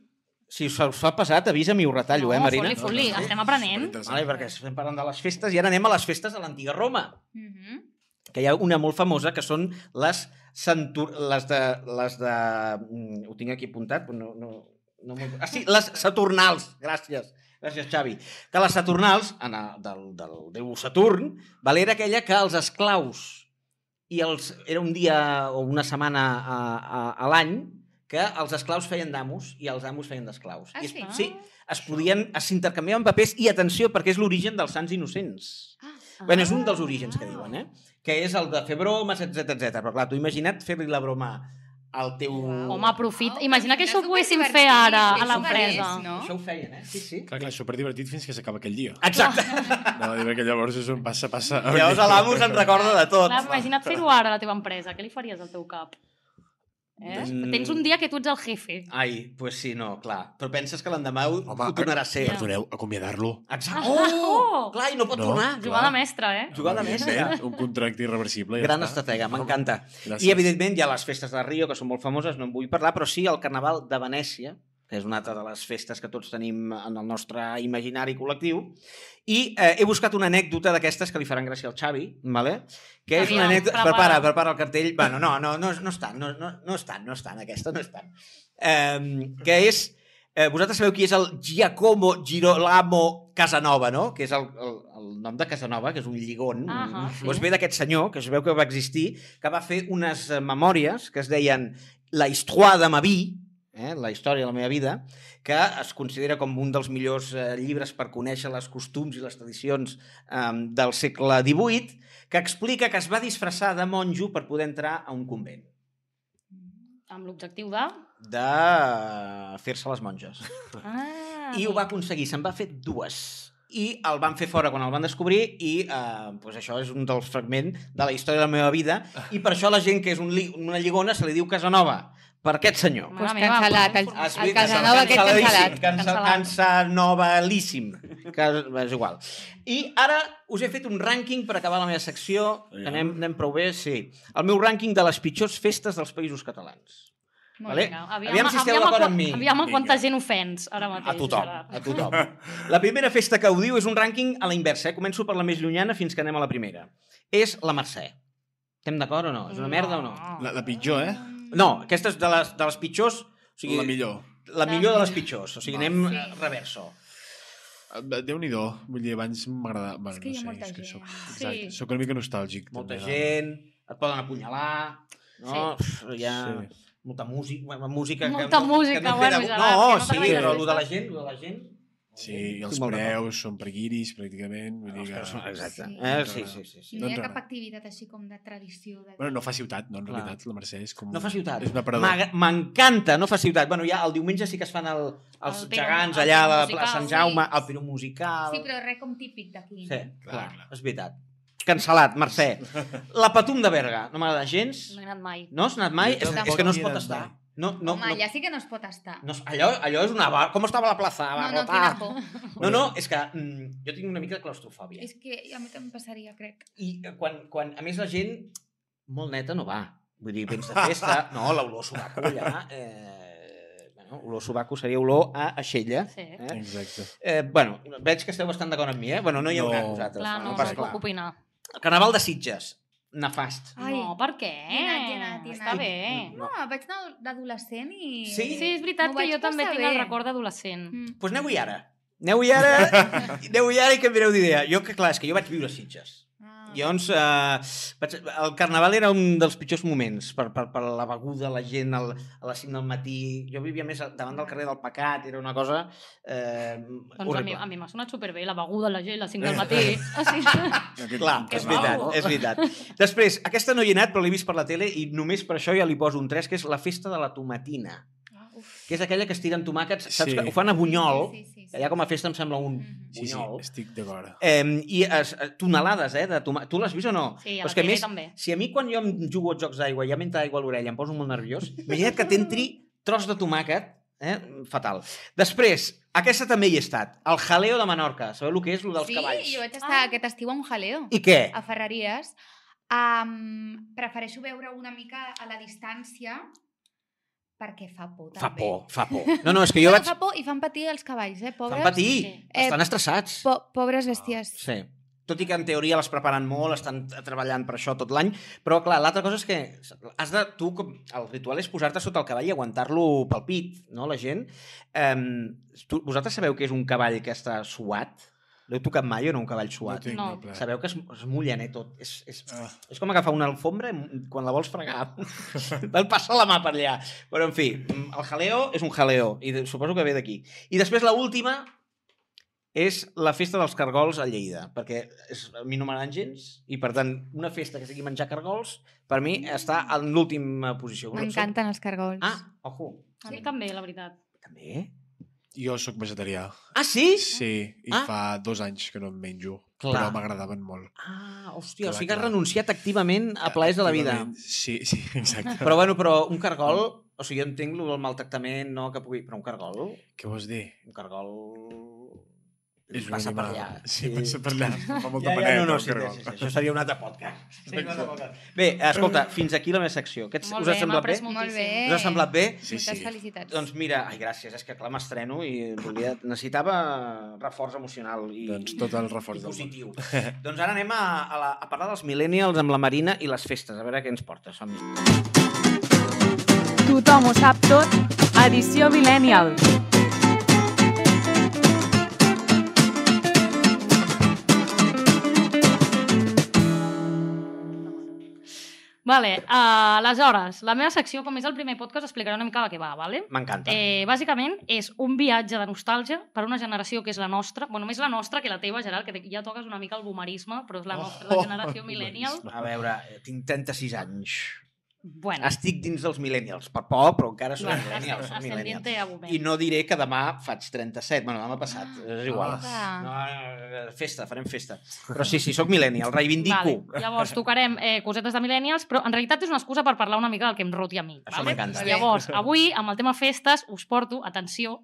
Si us fa passat, avisa'm i ho retallo, eh, no, Marina? Foli, foli, No, no, no. estem aprenent. Vale, perquè estem parlant de les festes i ara anem a les festes de l'antiga Roma, Mhm. que hi ha una molt famosa que són les centur... les de... Les de... mm, Ho tinc aquí apuntat, però no... no, no m'ho- ah, sí, les Saturnals, gràcies. Gràcies, Xavi. Que les Saturnals, en el, del, del déu Saturn, vale, era aquella que els esclaus i els, era un dia o una setmana a, a, a l'any que els esclaus feien d'amos i els amos feien d'esclaus. Ah, I es- sí? Sí, es podien, s'intercanviaven papers i atenció, perquè és l'origen dels sants innocents. Ah, bueno, és un dels orígens que diuen, eh? Que és el de fer bromes, etc etc. Però clar, tu imagina't fer-li la broma al teu... Home, aprofit. Au, Imagina que mira, això ho poguéssim superdivertit, fer ara a és l'empresa. superés, no? Això ho feien, eh? Sí, sí. Clar, clar, és superdivertit fins que s'acaba aquell <laughs> dia. Exacte. Anava a dir que llavors és un passa, passa... <laughs> Llavors l'amo se'n recorda de tot. Clar, imagina't fer-ho ara a la teva empresa. Què li faries al teu cap? Eh? Mm. Tens un dia que tu ets el jefe. Ai, doncs pues sí, no, clar. Però penses que l'endemà ho, Home, eh, ho tornarà a ser. Ja. Perdoneu, acomiadar-lo. Exacte. Oh! Oh! Clar, i no pot No. tornar. Jugar Clar. de mestre, eh? Jugar de més. Evidentment, Un contracte irreversible. ja Gran està. estratega, m'encanta. Gràcies. I, evidentment, hi ha les festes de Rio, que són molt famoses, no en vull parlar, però sí el Carnaval de Venècia, que és una altra de les festes que tots tenim en el nostre imaginari col·lectiu. I eh, he buscat una anècdota d'aquestes que li faran gràcia al Xavi, vale? que és una Aviam, anècdota... prepara. Prepara, prepara el cartell. Bueno, no, no, no, no és tant, no, no, no és tant, no és tant, aquesta no és tant. Eh, que és... Eh, vosaltres sabeu qui és el Giacomo Girolamo Casanova, no? Que és el, el, el nom de Casanova, que és un lligon. Ahà, sí. Doncs ve d'aquest senyor, que es veu que va existir, que va fer unes eh, memòries que es deien La histoire de ma vie, eh, la història de la meva vida, que es considera com un dels millors eh, llibres per conèixer les costums i les tradicions eh, del segle XVIII, que explica que es va disfressar de monjo per poder entrar a un convent Amb l'objectiu de... de eh, fer-se les monges. Ah, I ho va aconseguir, se'n va fer dues. I el van fer fora quan el van descobrir i eh, pues això és un dels fragments de la història de la meva vida i per això la gent que és un li una lligona se li diu Casanova, per aquest senyor. Mare Pues meva, cancel·lat, com- el- com- Has vist? Casanova aquest Canceladíssim, cancel·lat. cancel- Cansanovalíssim. Que és igual. I ara us he fet un rànquing per acabar la meva secció, que anem, anem prou bé, sí. El meu rànquing de les pitjors festes dels països catalans. Molt Vale? bé. Vinga, Aviam si esteu aviam a d'acord quan- amb mi. Aviam a quanta Vinga. gent ofens ara mateix. A tothom, Gerard. a tothom. La primera festa que ho diu és un rànquing a la inversa. Eh? Començo per la més llunyana fins que anem a la primera. És la Mercè. Estem d'acord o no? És una merda o no? La, la pitjor, eh? No, aquesta és de les, de les pitjors, o sigui, La millor. la millor de les pitjors. O sigui, Va. anem Sí. eh, reverso. Eh, Déu-n'hi-do. Vull dir, abans m'agradava... Bueno, És que hi ha no sé, molta és que gent. Soc, Sí. exacte, sí. soc una mica nostàlgic. Molta també, doncs. gent, et poden apunyalar, no? Pff, hi ha Sí. molta música, bueno, música Molta que, no- música, que no, bueno, queda... Gerard, no, que no sí, t'agrada però la el de la festa. gent, el de la gent... Sí, i els Estic molt d'acord. preus són per guiris, pràcticament. Vull dir Els que... preus són- Exacte. Sí. Eh, sí, sí, sí, sí. I no hi Doncs ha res. cap activitat així com de tradició. De... Bueno, no fa ciutat, no, en Clar. realitat. La Mercè és com... No fa ciutat. És una parador. M'agra- M'encanta, no fa ciutat. Bueno, ja el diumenge sí que es fan el, els El el piro- gegants el allà a piro la musical, plaça Sant Jaume, sí. el piro musical... Sí, però res com típic d'aquí. Sí, no? clar, clar. és veritat. Cancel·lat, Mercè. <laughs> La Patum de Berga, no m'agrada gens. No he anat mai. No has anat mai? Jo És, tampoc és que no hi es he pot anat estar. mai. No, no, Home, no, allà sí que no es pot estar. no, ah. allò, allò és una... Bar... Com estava la plaça? no, no, Abarrotada. quina por. no, no, és que mm, jo tinc una mica de claustrofòbia. És que a mi també em passaria, crec. I eh, quan, quan, a més, la gent molt neta no va. Vull dir, vens de <laughs> festa... No, l'olor a sobaco allà... Eh, bueno, olor a sobaco seria olor a aixella. Sí. Eh? Exacte. Eh, bueno, veig que esteu bastant d'acord amb mi, eh? Bueno, no hi haurà No. vosaltres. Clar, no, no, pas no puc opinar. El Carnaval de Sitges. Nefast. Ai. No, per què? Hi he anat, hi he anat, hi he Ah, Està anat. bé. No, Ah, vaig anar d'adolescent i... Sí? Sí, és veritat M'ho que vaig jo també passar tinc el bé. record d'adolescent. Mm. Doncs pues aneu-hi ara. Aneu-hi ara, aneu-hi ara i canviareu d'idea. Jo, que clar, és que jo vaig viure a Sitges. Ah. I Mm. llavors, eh, vaig, el carnaval era un dels pitjors moments per, per, per la beguda, la gent el, a les 5 del matí. Jo vivia més davant del carrer del Pecat, era una cosa eh, Doncs a mi, a mi m'ha sonat superbé la beguda, la gent, les 5 del <laughs> matí. Ah, O sigui, Aquest- Clar, que és veritat, maco. és veritat. Després, aquesta no hi he anat, però l'he vist per la tele i només per això ja li poso un 3, que és la festa de la tomatina. que és aquella que es tiren tomàquets, saps? Sí. que Ho fan a Bunyol, ah, Sí, sí, sí. allà com a festa em sembla un Mm. Mhm. Sí, sí, bunyol. estic d'acord. Eh, I es, eh, tonelades, eh, de tomàquets. Tu l'has vist o no? Sí, a Però la és que a tele més, també. si a mi quan jo em jugo als jocs d'aigua ja m'entra aigua a l'orella, em poso molt nerviós, imagina't que t'entri tros de tomàquet, eh? fatal. Després, aquesta també hi he estat, el jaleo de Menorca, sabeu el que és, el dels sí, cavalls? jo vaig estar Ah. aquest estiu a un jaleo, I què? a Ferreries. Um, prefereixo veure una mica a la distància perquè fa por, també. Fa por, fa por. No, no, és que jo No, vaig... Fa por i fan patir els cavalls, eh? Pobres, Fan patir, Sí. Eh, estan Ah, estressats. Po pobres bèsties. Sí. Tot i que en teoria les preparen molt, estan t- treballant per això tot l'any, però clar, l'altra cosa és que has de, tu, com, el ritual és posar-te sota el cavall i aguantar-lo pel pit, no, la gent. Um, tu, vosaltres sabeu que és un cavall que està suat? L'heu tocat mai o no, un cavall No suat? tinc No. no. pla. Sabeu que es, es mullen, eh, tot. És, és, Ah, és com agafar una alfombra i mm, quan la vols fregar. <laughs> Te'n passa la mà per allà. Però, en fi, mm, el jaleo és un jaleo, i de- suposo que ve d'aquí. I després la última és la festa dels cargols a Lleida, perquè és, a mi no m'agraden gens, i per tant, una festa que sigui menjar cargols, per mi està en l'última posició. M'encanten els cargols. Ah, ojo. A mi també, la veritat. També? jo sóc vegetarià. Ah, sí? Sí, i Ah. fa dos anys que no en menjo, Clar. però m'agradaven molt. Ah, hòstia, o Clar, sigui que has clar. renunciat activament a plaers de la vida. Activament, Sí, sí, <laughs> exacte. Però, bueno, però un cargol, o sigui, jo entenc lo del maltractament, no, que pugui... Però un cargol, Què vols dir? un cargol És un passa per animal. allà. Sí, passa per allà. Fa molta Ja, ja, paneta, no, no, el sí, cargol. sí, sí, això seria un altre podcast. Seria un altre podcast. Bé, escolta, fins aquí la meva secció. Què et- us Molt bé, ha m'ha semblat bé? après moltíssim. Molt bé. Us ha semblat bé? Sí, sí. Moltes felicitats. Doncs mira, ai, gràcies, és que clar, m'estreno i volia, necessitava reforç emocional i, Doncs tot el i reforç del món. positiu. doncs ara anem a, a, la, a parlar dels millennials amb la Marina i les festes, a veure què ens porta. Som -hi. Tothom ho sap tot. Edició Millennial. Vale, uh, aleshores, la meva secció, com és el primer podcast, explicaré una mica de què va, vale? M'encanta. Eh, bàsicament, és un viatge de nostàlgia per una generació que és la nostra, bueno, més la nostra que la teva, Gerard, que ja toques una mica el boomerisme, però és Oh, la nostra, la <laughs> generació millennial. A veure, tinc 36 anys. Bueno, Estic dins dels millennials, per por, però encara bueno, són millennials. asc- Soc millennial. ascendiente a boomer. I no diré que demà faig 37. Bueno, demà passat, és igual. Ah. No, no, no, festa, farem festa. Però sí, <laughs> sí, sóc millennial, reivindico. Vale. Llavors, tocarem eh, cosetes de millennials, però en realitat és una excusa per parlar una mica del que em roti a mi. Això m'encanta. Llavors, avui, amb el tema festes, us porto, atenció,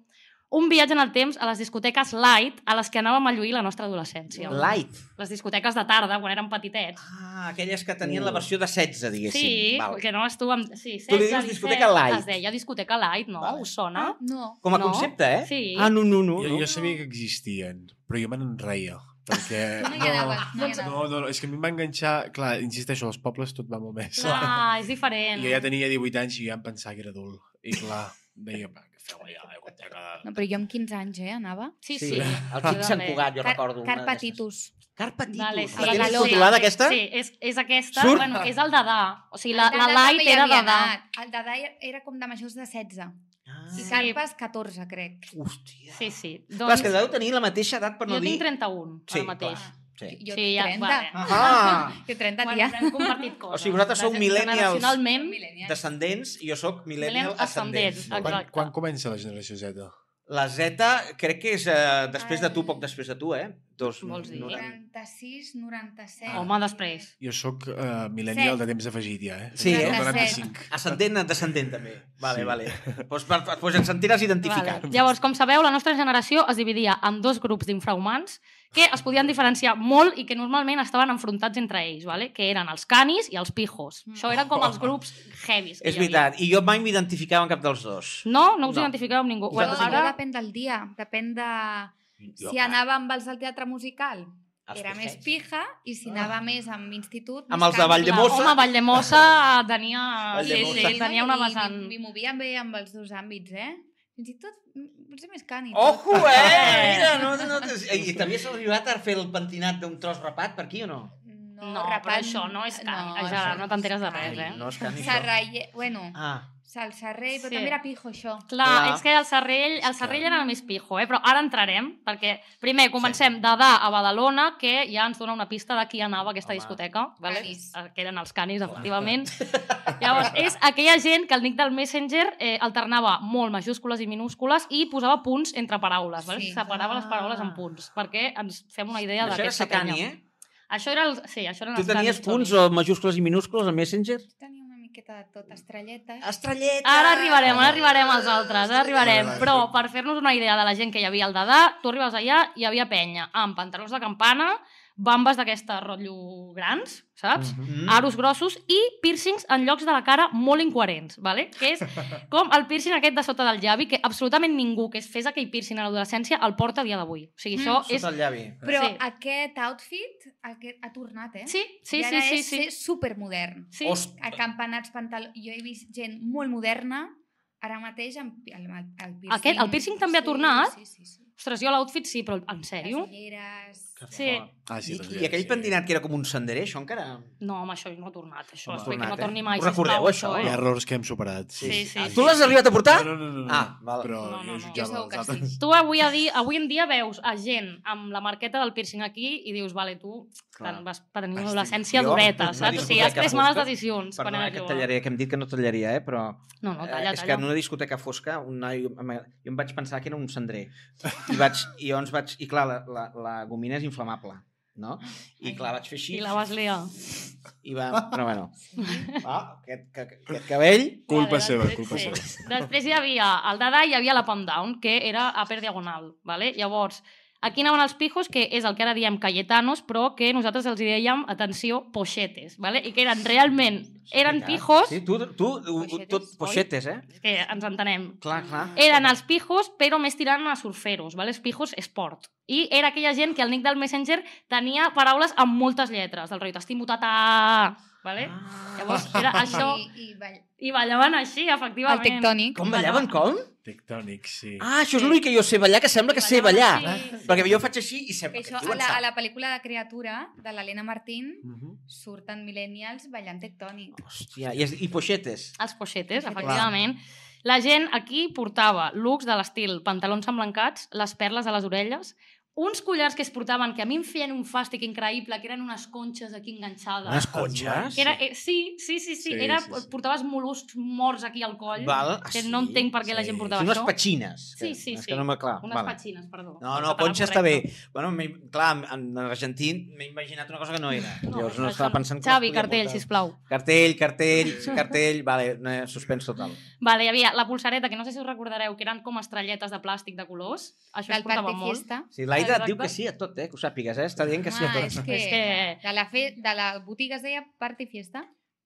un viatge en el temps a les discoteques light a les que anàvem a lluir la nostra adolescència. Light. Les discoteques de tarda, quan érem petitets. Ah, aquelles que tenien Mm. la versió de 16, diguéssim. Sí, Val. que no vas tu amb... Sí, Tu li dius 16, discoteca 17, light. Es deia discoteca light, no? Vale. Ah. Us sona? No. Com a no. concepte, eh? Sí. Ah, no, no, no. Jo, no. jo sabia que existien, però jo me n'enreia. <laughs> Perquè... No hi anaves, no hi anaves. no, no, no, és que a mi em va enganxar... Clar, insisteixo, als pobles tot va molt més. Ah, és diferent. Jo ja tenia 18 anys i ja em pensava que era adult. I clar, deia, va, què feu allà? Eh, quan té que-" No, però jo amb 15 anys, eh, anava. Sí, sí. El Quim Sant Cugat, jo recordo. una d'aquestes. Carpatitus. Carpatitus. Vale, Vale, sí. sí. La tens Badalona. controlada, aquesta? Sí, és, és aquesta. Surt? Bueno, és el d'edà. O sigui, la, El la Dada també light hi era havia d'edà. anat. El Dada era com de majors de 16. Ah, I Carpes, 14, crec. hòstia. Sí, sí. Clar, és Doncs, que deu tenir la mateixa edat per no jo dir... tinc 31, Sí, sí, ara mateix. clar. Sí. Ah, <laughs> Jo Sí, ja, 30. vale. Ah! Jo 30, Bueno, tia. però hem compartit coses. O sigui, vosaltres sou millennials. Generacionalment, Descendents, i jo sóc millennial Millennial ascendent. ascendent, Molt bé. Quan, Exacte. quan comença la generació Z? La Z crec que és eh, després de tu, poc després de tu, eh? Dos, Vols dir? 96, 97. Ah. home, després. Jo sóc uh, millennial Set. de temps afegit, ja, eh? Sí, eh? 95. Ascendent, descendent també. Vale, Sí. sí. vale. Doncs pues, pues et sentiràs identificat. Vale. Llavors, com sabeu, la nostra generació es dividia en dos grups d'infrahumans que es podien diferenciar molt i que normalment estaven enfrontats entre ells, vale? que eren els canis i els pijos. Mm. Això eren com els grups heavies. Oh. que És hi havia. veritat, i jo mai m'identificava amb cap dels dos. No? No us No. no. identifiqueu amb ningú. Jo- Jo, Bueno, Nosaltres ara... ara... depèn del dia, depèn de... Jo, si clar, anava amb els al teatre musical, els era més peixets. pija, i si anava més amb institut... Amb més els de cant, Valldemossa. clar. Mossa. Home, Valldemossa tenia, sí, Valldemossa. sí, tenia una I vessant... M'hi m'hi movia bé amb els dos àmbits, eh? Fins i tot, mm, potser més cani. Ojo, <laughs> eh! Mira, no, no, no, I t'havies arribat a fer el pentinat d'un tros rapat per aquí o no? Mm, No, No, rapat... però això no és cani. No, Gerard, no t'enteres de res, eh? No és cani, això. Sarralle... Bueno, Ah, salsarrell, però Sí. també era pijo, això. Clar, Clar. és que el Serrell, el Serrell era el més pijo, eh? però ara entrarem, perquè primer comencem sí. d'Adà a Badalona, que ja ens dona una pista de qui anava a aquesta Home. discoteca. Vale? Eh, Canis. Que eren els canis, efectivament. <laughs> Llavors, és aquella gent que el nick del Messenger eh, alternava molt majúscules i minúscules i posava punts entre paraules, vale? Sí. separava les Ah. paraules en punts, perquè ens fem una idea això era d'aquesta ser cani, eh? eh? Això era el... Sí, això eren Tu els tenies canis punts o xolis. majúscules i minúscules a Messenger? Jo tenia una miqueta de tot, estrelletes. Estrellet! Ara arribarem, ara arribarem als altres, ara arribarem. Però per fer-nos una idea de la gent que hi havia al Dadà, tu arribaves allà i hi havia penya amb pantalons de campana, bambes d'aquesta rotllo grans, saps? Mhm. Mm. aros grossos i piercings en llocs de la cara molt incoherents, vale? <laughs> que és com el piercing aquest de sota del llavi, que absolutament ningú que es fes aquell piercing a l'adolescència el porta a dia d'avui. O sigui, això Mm, Sota és... el llavi. Però Sí. aquest outfit aquest, ha tornat, eh? Sí, sí, I sí, ara sí, és sí. ser supermodern. sí. Host- Acampanats, pantalons... Jo he vist gent molt moderna ara mateix amb, amb el, el piercing. Aquest, el piercing també ha tornat? Sí, sí, sí. Ostres, jo l'outfit sí, però en sèrio? Les ulleres... Sí. Ah, sí, I, les I ulleres, aquell sí. pentinat que era com un senderer, això encara... No, home, això no ha tornat, això. No ha Espero que tornat, no eh? torni mai, Ho recordeu, sisplau, això? Hi ha eh? errors que hem superat. Sí, sí, sí. Ah, Tu l'has arribat a portar? No, no, no, no. Ah, val. Però No, no, jo no. Jo jutjava segur els que sí. altres. Tu avui, a dia, avui en dia veus a gent amb la marqueta del piercing aquí i dius, vale, tu Clar. Clar. vas per tenir Estic una adolescència jo dureta, en una saps? O sigui, has discoteca pres males fosca. decisions quan Perdona eh, eres que et jove. tallaria, que hem dit que no tallaria, eh? però No, no, eh, talla, és que talla. en una discoteca fosca un noi, jo em vaig pensar que era un cendrer i, vaig, i llavors vaig, i clar, la, la, la gomina és inflamable no? i clar, vaig fer així I la vas liar. i va, però bueno ah, aquest, que, aquest cabell Culpa Vale, seva, després- culpa sí. seva. Després hi havia el Dada i hi havia la Pump Down, que era a per diagonal. Vale? Llavors, aquí anaven els pijos, que és el que ara diem cayetanos, però que nosaltres els hi dèiem, atenció, pochetes, vale? i que eren realment, eren pijos, sí, tu, tu, u- u- Poixetes, tot oi? poixetes, eh? és que ens entenem, clar, clar eren els pijos, però més tirant a surferos, vale? els pijos esport. I era aquella gent que el nick del Messenger tenia paraules amb moltes lletres, del rotllo, t'estimo tatà, vale? eh? Ah. Llavors, <laughs> era això, I, i ball... i ballaven així, El efectivament. tectònic. com ballaven, com? Tectònic, sí. ah, això és l'únic que jo sé ballar, que sembla que sé ballar Sí, sí. perquè jo faig així i sembla Que que això, tu a en la, a saps la pel·lícula de Criatura, de l'Helena Martín, Mhm. surten millennials ballant tectònic. hòstia, i, és- i poixetes Els poixetes, efectivament. La gent aquí portava looks de l'estil pantalons emblancats, les perles a les orelles, uns collars que es portaven que a mi em feien un fàstic increïble, que eren unes conxes aquí enganxades. unes conxes Que Era, eh, sí, sí, sí, sí, Sí, era, sí, sí. portaves mol·luscs morts aquí al coll, Val, ah, que sí? no entenc per què la Sí. gent portava Són unes això. petxines. Que, Sí, sí, és sí. Que no me, clar, Unes vale. petxines, perdó. No, El no, català conxa està bé. correcte. Bueno, m'he- clar, en, en argentí m'he imaginat una cosa que no era. No, Llavors no això- estava pensant... com Xavi, es podia cartell, portar. sisplau. Cartell, cartell, cartell... Vale, eh, suspens total. Vale, hi havia la pulsareta, que no sé si us recordareu, que eren com estrelletes de plàstic de colors. Això es Del portava party molt. fiesta. Sí, L'Aida Exacte. et diu que sí a tot, eh? Que ho sàpigues, eh? Està dient que sí a Ah, tot. és que, És que- De, la fe, de la botiga es deia party fiesta,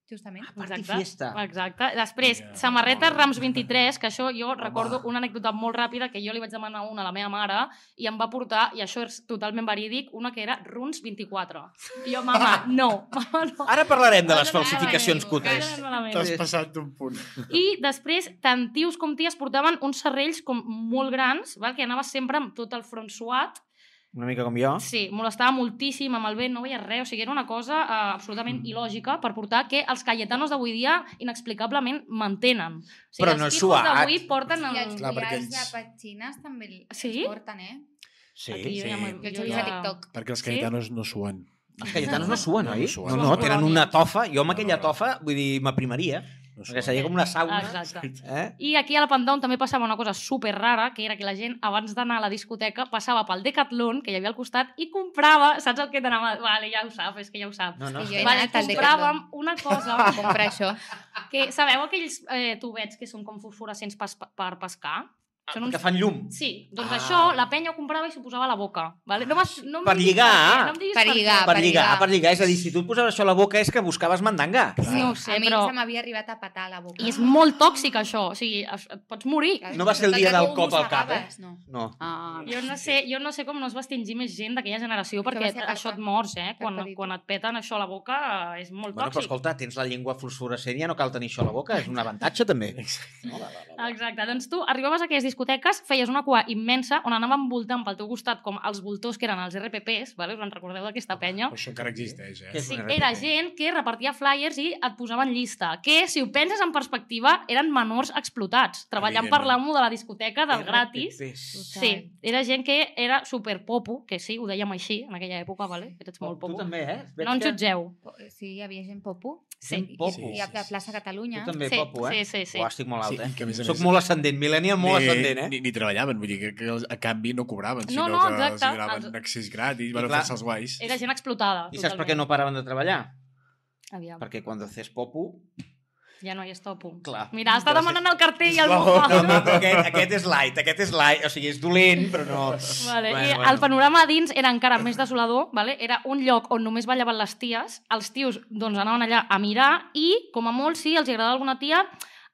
justament. Party Exacte. fiesta. Exacte. Després, Ja. yeah. samarretes Rams 23, que això jo recordo una anècdota molt ràpida que jo li vaig demanar una a la meva mare i em va portar, i això és totalment verídic, una que era Runs 24. I jo, mama, no, <laughs> mama, no. Ara parlarem de Ara les falsificacions parlarem, cutres. Ara malament. T'has passat d'un punt. I després, tant tios com ties portaven uns serrells com molt grans, val? que anava sempre amb tot el front suat. Una mica com jo. Sí, molestava moltíssim amb el vent, no veia res, o sigui, era una cosa eh, Mm. absolutament il·lògica per portar que els cayetanos d'avui dia inexplicablement mantenen. O sigui, Però els no és pijos suat. d'avui porten... I El... els Clar, Clar, perquè collars de ells- petxines també els Ah, Sí? porten, eh? Sí. Aquí jo sí. ja me'n- Jo els jo he vist ja- a TikTok. Perquè els Sí? caetanos no suen. Els cayetanos no suen, No, oi? no No, suen. no, Són tenen colònies. una tofa. Jo amb No, aquella no. tofa, vull dir, m'aprimaria. No Perquè suen. eh. seria com una sauna. Exacte. Eh? I aquí a la Pandown també passava una cosa super rara, que era que la gent, abans d'anar a la discoteca, passava pel Decathlon, que hi havia al costat, i comprava, saps el que t'anava? Vale, ja ho sap, és que ja ho sap. No, no. I jo he Vale, anat al Decathlon compràvem una cosa a <laughs> comprar això. que, sabeu aquells eh, tubets que són com fosforescents pas, per pescar? Són uns Ah, Que fan llum. Sí, doncs Ah. ah. això la penya ho comprava i s'ho posava a la boca. Vale? No, m'has- no em Per diguis lligar. què, no em diguis Per què. lligar, per lligar, lligar. per lligar. És a dir, si tu et posaves això a la boca és que buscaves mandanga. <laughs> Sí, ho sé, a mi però... se m'havia arribat a patar a la boca. I és molt tòxic, això. O sigui, es- et pots morir. No va ser el dia Tant que del tu cop al cap, eh? mossegaves, No. No. Ah, Jo no, sé, jo no sé com no es va extingir més gent d'aquella generació, perquè va ser això Papa. et mors, eh? Quan, Papa dit. quan et peten això a la boca eh, és molt Bueno, però tòxic. escolta, tens la llengua <laughs> fosforescent, ja no cal tenir això a la boca, és un avantatge també. Exacte. No, la, la, la. Exacte, doncs tu arribaves a aquelles discoteques feies una cua immensa on anaven voltant pel teu costat com els voltors que eren els RPPs, vale? us en recordeu d'aquesta penya? Però això encara existeix, Què eh? és Sí, un RPP? era gent que repartia flyers i et posaven llista, que, si ho penses en perspectiva, eren menors explotats, treballant per Evidentment. l'amo de la discoteca del gratis. RPPs. Sí, era gent que era superpopo, que sí, ho dèiem així en aquella època, vale? que ets molt Tu popo. també, eh? Veig No ens que jutgeu. Po- Sí, hi havia gent popo. Sí. I- Popo. I a la plaça Catalunya. Tu també, sí, Popo, eh? sí, sí, sí. Uau, estic molt alt, i eh? que a més a Soc més- molt ascendent, mil·lènia molt ni, ascendent, eh? Ni, ni treballaven, vull dir que, que els- a canvi no cobraven, No, sinó no, que exacte. els donaven Els- accés gratis, van clar, fer-se els guais. Era gent explotada. I saps per què no paraven de treballar? Aviam, Perquè quan haces popo... ja no hi és topo. Clar. Mira, està Gràcies. demanant el cartell i el <laughs> No, bufà. No, no, però aquest, aquest és light, aquest és light, o sigui, és dolent, però no... Vale. Bueno, I bueno. el panorama a dins era encara més desolador, vale? era un lloc on només ballaven les ties, els tios doncs, anaven allà a mirar i, com a molt, si els agradava alguna tia,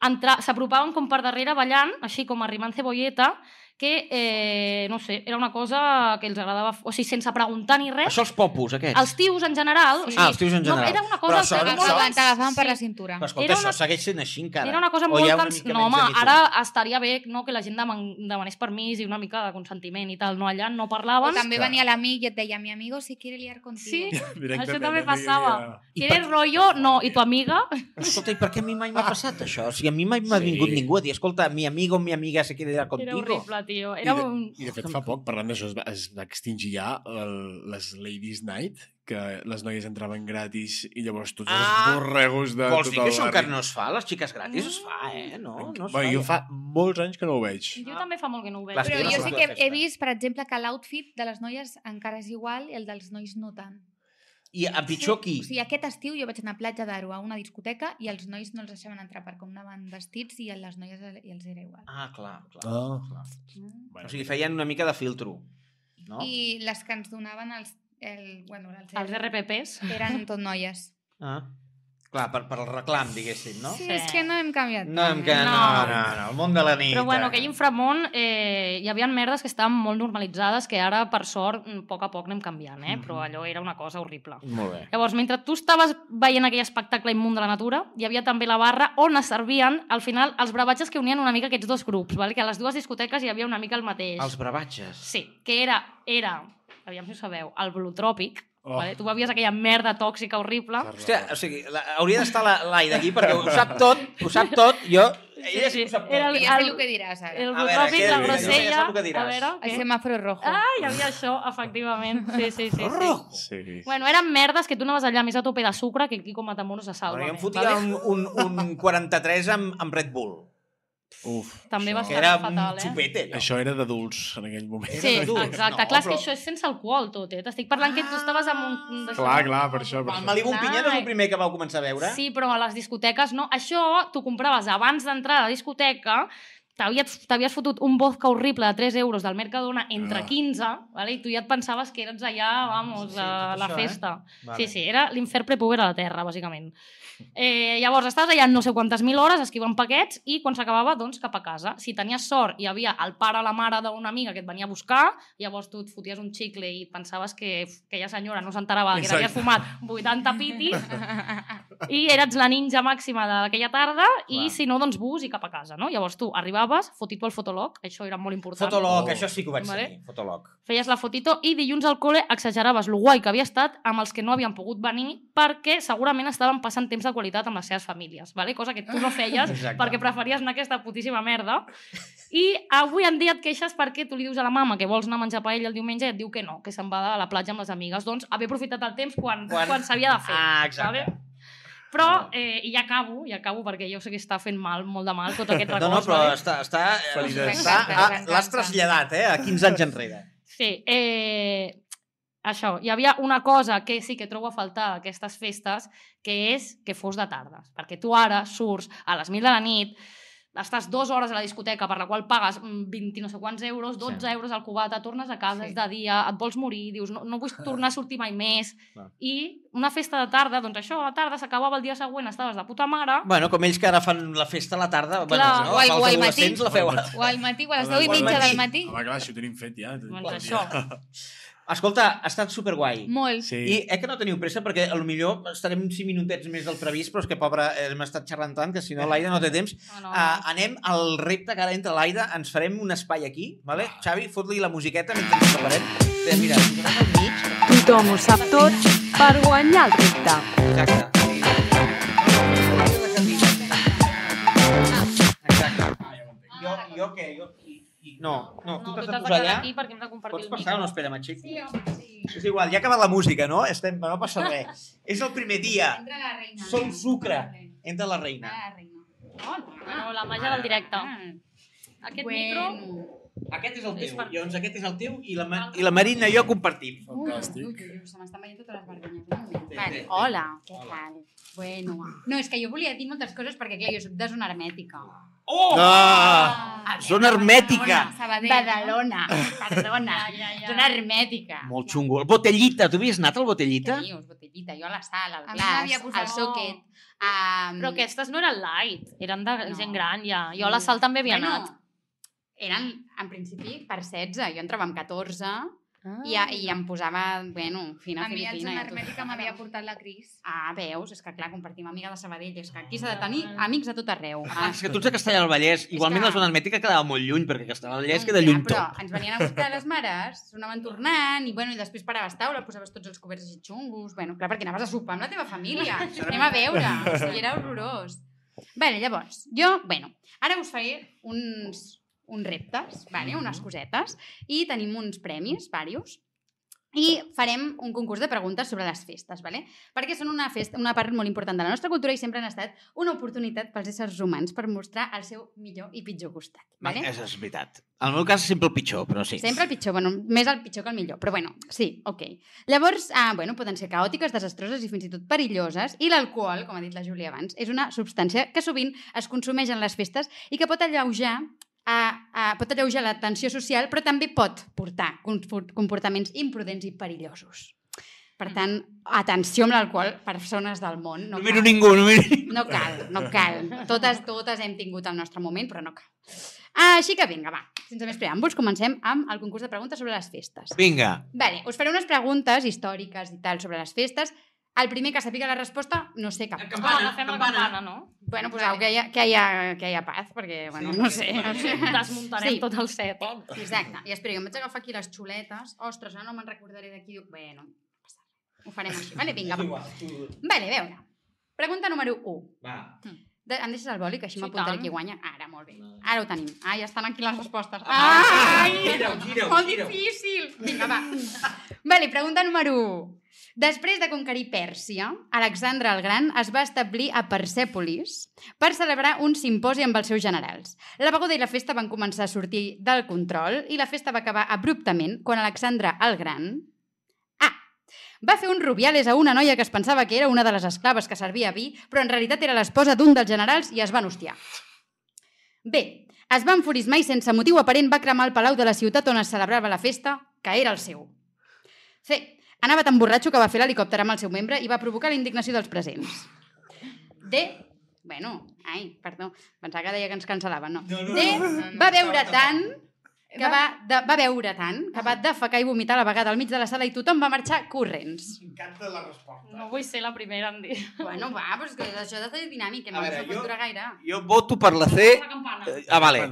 entra- s'apropaven com per darrere ballant, així com arrimant cebolleta, que, eh, no sé, era una cosa que els agradava... O sigui, sense preguntar ni res. Això els popos, aquests. Els tios en general... O sigui, Ah, els tios en general. No, era una Però cosa... això- que era això- molt- T'agafaven per Sí. la cintura. Però escolta, era això una- segueix sent així encara. Era una cosa O molt... hi ha una Cans... mica No, menys home, habitual? ara estaria bé no, que la gent deman demanés permís i una mica de consentiment i tal. No, allà no O parlaven. també Clar. venia l'amic i et deia, mi amigo si quiere liar Sí, contigo. Directament, també no hi passava. havia- I ¿Quieres rollo? No. ¿Y tu amiga? Escolta, i per què a mi mai Ah. m'ha passat això? O sigui, a mi mai m'ha Sí. vingut ningú a dir, escolta, mi amigo, mi amiga se quiere ir Era contigo. horrible, tio. Era I de- un... I de fet fa poc, parlant d'això, es, va- es va extingir ja el, les Ladies Night, que les noies entraven gratis i llavors tots Ah! els borregos de Vols tot dir el que això barri. encara no es fa? Les xiques gratis es fa, Mm. eh? No, no es fa. bueno, jo ja. fa molts anys que no ho veig. Jo Ah. també fa molt que no ho veig. Clar, Però Estic jo a sí la que festa. he vist, per exemple, que l'outfit de les noies encara és igual i el dels nois no tant. I a pitjor qui? O sigui, aquest estiu jo vaig anar a Platja d'Aro a una discoteca i els nois no els deixaven entrar per com anaven vestits i a les noies i els era igual. Ah, clar, clar. Ah. clar. Bueno, O sigui, feien una mica de filtro. No? I les que ens donaven els... El, bueno, els, Els RPPs. Eren tot noies. Ah. Clar, per, per el reclam, diguéssim, no? Sí, Sí. és que no hem canviat. No, em queda... No. no. no, no, el món de la nit. Però bueno, aquell eh? inframont eh, hi havia merdes que estaven molt normalitzades que ara, per sort, mm, a poc a poc anem canviant, eh? Però allò era una cosa horrible. Molt bé. Llavors, mentre tu estaves veient aquell espectacle immund de la natura, hi havia també la barra on es servien, al final, els bravatges que unien una mica aquests dos grups, val? que a les dues discoteques hi havia una mica el mateix. Els bravatges. Sí, que era, era, aviam si ho sabeu, el bolutròpic. Oh. Oh. Vale? Tu bevies aquella merda tòxica horrible. Carla, Hòstia, o sigui, la, hauria d'estar la- l'Aida aquí perquè ho sap tot, ho sap tot, jo... Ella sí que ho sap tot. Era el, I ja sé el, el que diràs ara. el A veure, què bolutròpic, la diràs? Jo ja grosella... sap el que diràs. A veure, El què? semàforo rojo. Ah, hi havia això, efectivament. Sí, sí, sí. sí. Rojo. Sí. Bueno, eren merdes que tu anaves allà més a tope de sucre que aquí com a Tamono se salva. Bueno, jo em fotia un, un, un 43 amb, amb Red Bull, Uf, També això, va que ser- era Fatal, un eh? xupete. allò. Això era d'adults en aquell moment. Sí, Era dur. exacte. No, clar, és però- que això és sense alcohol, tot, eh? T'estic parlant que tu estaves amb un... d'això. Clar, clar, per això. Per El això. Malibu Pinyera és el primer que vau començar a veure. Sí, però a les discoteques no. Això tu compraves abans d'entrar a la discoteca, t'havies t'havies fotut un vodka horrible de 3 euros del Mercadona entre Ah. 15, vale? i tu ja et pensaves que eres allà, vamos, Sí, a tot la això, eh? festa. Sí, sí, era l'infern prepuber a la Terra, bàsicament. Eh, llavors, estaves allà no sé quantes mil hores esquivant paquets i quan s'acabava, doncs, cap a casa. Si tenies sort, hi havia el pare o la mare d'una amiga que et venia a buscar, llavors tu et foties un xicle i pensaves que uf, aquella senyora no s'enterava que Exacte. havia fumat 80 pitis i eres la ninja màxima d'aquella tarda Clar. i, si no, doncs bus i cap a casa, no? Llavors tu arribaves, fotito al fotolog, això era molt important. Fotolog, Oh. això sí que ho vaig Vale. tenir, Fotolog. Feies la fotito i dilluns al col·le exageraves lo guai que havia estat amb els que no havien pogut venir perquè segurament estaven passant temps de qualitat amb les seves famílies, vale? cosa que tu no <laughs> feies Exacte. perquè preferies anar a aquesta putíssima merda. I avui en dia et queixes perquè tu li dius a la mama que vols anar a menjar paella el diumenge i et diu que no, que se'n va a la platja amb les amigues. Doncs haver aprofitat el temps quan, Quan- quan, quan s'havia de fer. Ah, exacte. Vale? Però, eh, i ja acabo, ja acabo perquè jo sé que està fent mal, molt de mal, tot <laughs> aquest No, record. no, però vale? està... està, Felices. està Ens encanta, ah, ens L'has encanta. traslladat, eh? A 15 anys enrere. Sí, eh, això, hi havia una cosa que sí que trobo a faltar d'aquestes festes, que és que fos de tardes, perquè tu ara surts a les 1000 de la nit, estàs dues hores a la discoteca per la qual pagues mm, 20 i no sé quants euros, 12 Sí. sí. euros al cubata, tornes a casa, Sí. sí. és de dia, et vols morir, dius no, no vull tornar a sortir mai més. Clar. I una festa de tarda, doncs això, a la tarda s'acabava el dia següent, estaves de puta mare, Bueno, com ells que ara fan la festa a la tarda, bueno, Clar. no, O al- els o al matí. adolescents la feu. O al matí, o a les Al 10 i mitja matí. del matí. Home, clar, això ho tenim fet ja. doncs això. Escolta, ha estat superguai. Molt. Sí. I eh que no teniu pressa, perquè a lo millor estarem 5 minutets més del previst, però és que, pobra, hem estat xerrant tant que si no l'Aida no té temps. Ah, No, no, no. Uh, anem al repte que ara entra l'Aida. Ens farem un espai aquí, vale? Xavi, fot-li la musiqueta mentre ens preparem. Bé, mira, posem al mig. Tothom ho sap tot per guanyar el repte. Exacte. Sí. Exacte. Jo, jo què? Jo... i- No, no, tu no, t'has de tu t'has de posar quedar allà. aquí perquè hem de compartir Pots el passar o micro. no? Espera, m'aixeco. Sí, És igual, ja ha acabat la música, no? Estem, no passa res. És el primer dia. Entra la reina. Som sucre. Entra la Entra reina. la reina. No, la màgia Ah. del directe. Aquest Bueno. micro... Aquest és el És teu. per- Llavors, aquest és el teu i la, Ma- i la Marina i jo compartim. Fantàstic. Ui, ui, ui, se m'estan veient totes les vergonyes. eh? Sí, Vale, sí. hola, què tal? Bueno, No, és que jo volia dir moltes coses perquè, clar, jo soc de zona hermètica. Oh! Ah! Zona hermètica. Sabadell. no? Badalona, <laughs> perdona, Ja, ja, ja. zona hermètica. Molt xungo. El Botellita. Tu havies anat al Botellita? Què dius, botellita? Jo a la sala, A al mi m'havia glas, posat- al soquet. Um, Però aquestes no eren light, eren de No. Mm. gent gran ja. Jo a la sal també havia anat. Eren, en principi, per 16. Jo entrava amb 14 i, a, i em posava, bueno, fina, A mi filipina. eh, el i zona a tot. hermètica m'havia portat la Cris. Ah, veus? És que, clar, compartim amiga de Sabadell. És que aquí s'ha de tenir amics de tot arreu. Ah, és que tu ets de Castellà del Vallès. Igualment que- la zona hermètica quedava molt lluny, perquè Castellà del Vallès Mm, queda clar, lluny però tot. ens venien a buscar les mares, anaven tornant, i, bueno, i després paraves taula, posaves tots els coberts així xungos, bueno, clar, perquè anaves a sopar amb la <laughs> teva família, anem a veure, o sigui, era horrorós. Vale, llavors, jo, bueno, ara us faré uns, uns reptes, vale, Mhm. unes cosetes, i tenim uns premis, varios, i farem un concurs de preguntes sobre les festes, vale? perquè són una, festa, una part molt important de la nostra cultura i sempre han estat una oportunitat pels éssers humans per mostrar el seu millor i pitjor costat. Vale? És, és veritat. En el meu cas, sempre el pitjor, però sí. Sempre el pitjor, bueno, més el pitjor que el millor, però bueno, sí, ok. Llavors, ah, bueno, poden ser caòtiques, desastroses i fins i tot perilloses, i l'alcohol, com ha dit la Júlia abans, és una substància que sovint es consumeix en les festes i que pot alleujar a, a, pot alleujar la tensió social, però també pot portar confort- comportaments imprudents i perillosos. Per tant, atenció amb l'alcohol, persones del món. No No miro cal. ningú, no miro... No cal, no cal. Totes, totes hem tingut el nostre moment, però no cal. Ah, així que vinga, va. Sense més preàmbuls, comencem amb el concurs de preguntes sobre les festes. Vinga. Vale, us faré unes preguntes històriques i tal sobre les festes. El primer que sàpiga la resposta, no sé cap. Ah, agafem la campana, no? Bueno, poseu que hi ha, que hi ha, que hi ha paz, perquè, bueno, Sí, no sí, sé. sí. o sigui. <laughs> Desmuntarem Ah, Sí. tot el set. Exacte. I espera, jo em vaig agafar aquí les xuletes. Ostres, ara no me'n recordaré d'aquí. Diu, Bueno, no passa res. ho farem així. Vale, vinga, va. Vale, a veure. Pregunta número 1. Va. De, em deixes el boli, que així Sí, m'apuntaré tant. qui guanya. Ara, molt bé. Vale. Ara ho tenim. Ah, ja estan aquí les respostes. Ah, Ai! gira-ho, gira-ho, Molt gira-ho. difícil! Vinga, va. Vale, pregunta número 1. Després de conquerir Pèrsia, Alexandre el Gran es va establir a Persèpolis per celebrar un simposi amb els seus generals. La beguda i la festa van començar a sortir del control i la festa va acabar abruptament quan Alexandre el Gran A. Va fer un rubiales a una noia que es pensava que era una de les esclaves que servia vi, però en realitat era l'esposa d'un dels generals i es van hostiar. B. Es va enfurismar i sense motiu aparent va cremar el palau de la ciutat on es celebrava la festa, que era el seu. C. Anava tan borratxo que va fer l'helicòpter amb el seu membre i va provocar la indignació dels presents. D. Bueno, ai, perdó, pensava que deia que ens cancel·laven, no. No, no, D. no, no, Va veure tant que va, Ah. de, va veure tant que va defecar i vomitar a la vegada al mig de la sala i tothom va marxar corrents. M'encanta la resposta. No vull ser la primera en dir. Bueno, va, però és que això de ser dinàmic, A no veure, veure, jo- jo... gaire. Jo voto per la C. La campana. Eh, Ah, vale.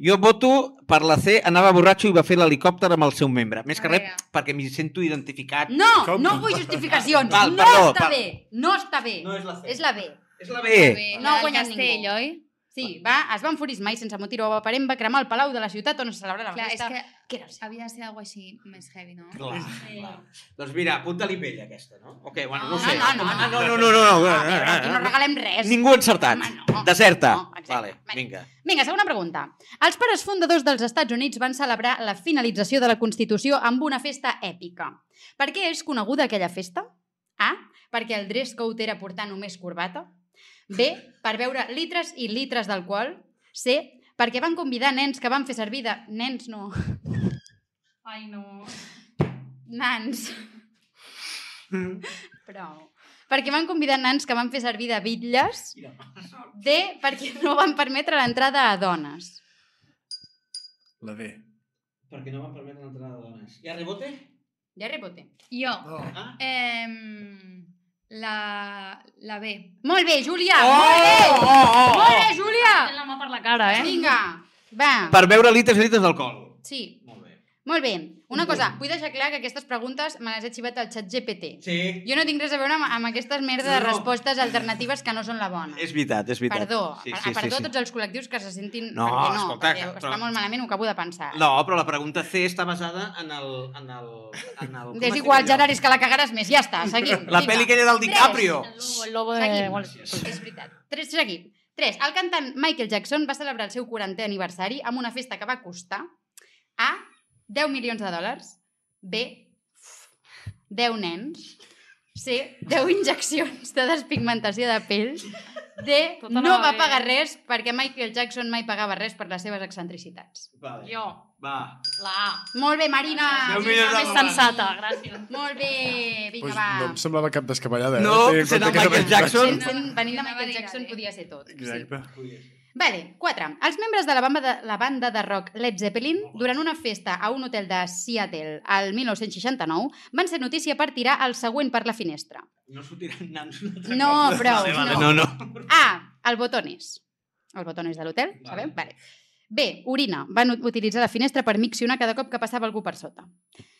Jo voto per la C, anava borratxo i va fer l'helicòpter amb el seu membre. Més que A res, veure. perquè m'hi sento identificat. No, Com? no vull justificacions. Val, no, perdó, està val. bé, no està bé. No és la C. És la B. És la B. Bé, No la ha del guanyat castell, ningú. oi? Sí, va, es va enfurismar i sense motiu aparent va cremar el palau de la ciutat on es celebrava la Clar, és festa. que que... era el seu. havia de ser alguna així més heavy, no? Clar, clar. Doncs mira, apunta-li vella aquesta, no? Ok, bueno, no ho sé. No, no, no, Ah, no. no, no, no, no, no, A veure, aquí no no, no, regalem res. Ningú ha encertat. Home, no. Deserta. No, exacte. vale, Vale. vinga. Vinga, segona pregunta. Els pares fundadors dels Estats Units van celebrar la finalització de la Constitució amb una festa èpica. Per què és coneguda aquella festa? A. Perquè el dress code era portar només corbata. B. Per veure litres i litres d'alcohol. C. Perquè van convidar nens que van fer servir de... Nens no. Ai, no. Nans. Prou. Perquè van convidar nans que van fer servir de bitlles. D. Perquè no van permetre l'entrada a dones. La D. Perquè no van permetre l'entrada de dones. I a rebote? Ja rebote. Jo, No. Ah? em, la, la B. Molt bé, Júlia! Oh! Ah, Molt bé! Oh, oh, oh! Molt bé, Júlia! Té la mà per la cara, eh? Vinga, va. Per veure litres i litres d'alcohol. Sí, Molt bé. molt bé. Una cosa, vull deixar clar que aquestes preguntes me les he xivat al xat GPT. Sí. Jo no tinc res a veure amb, amb aquestes merda de No, no. respostes alternatives que no són la bona. És veritat, és veritat. Perdó, Sí, a- sí, a perdó sí, a tots els col·lectius que se sentin... No, perquè no escolta, perquè que- està molt malament, ho acabo de pensar. sí. No, però la pregunta C està basada en el... En el, en el com es És diu igual, allò? Gerard, és que la cagaràs més. Ja està, seguim. La pel·li aquella del Tres. DiCaprio. El lobo, el lobo de... Seguim. Wall Street. És veritat. Tres, seguim. Tres. El cantant Michael Jackson va celebrar el seu 40è aniversari amb una festa que va costar A. 10 milions de dòlars B. 10 nens C. 10 injeccions de despigmentació de pell D. Tota Tot No anava va bé. pagar res perquè Michael Jackson mai pagava res per les seves excentricitats. Vale. Jo, Va. la A. Molt bé, Marina! Deu Vinga, milions de Més més dòlars. sensat. sensata, gràcies. Molt bé, vinga, Pues, va. Doncs no em semblava cap descabellada. eh? No, Tenint en sent compte el que era Michael un Jackson. eh? Sent- sent- Venint de Anava a Michael dir Jackson Gale. podia ser tot. Sí. Exacte. Vale, 4. Els membres de la banda de, la banda de rock Led Zeppelin, durant una festa a un hotel de Seattle al 1969, van ser notícia per tirar el següent per la finestra. No sortiran nanos un altre No, cop. prou, Vale, vale, no, no. no. A. El botones. El botones de l'hotel, Vale. sabem? Vale. B. Orina. Van ut- utilitzar la finestra per miccionar cada cop que passava algú per sota.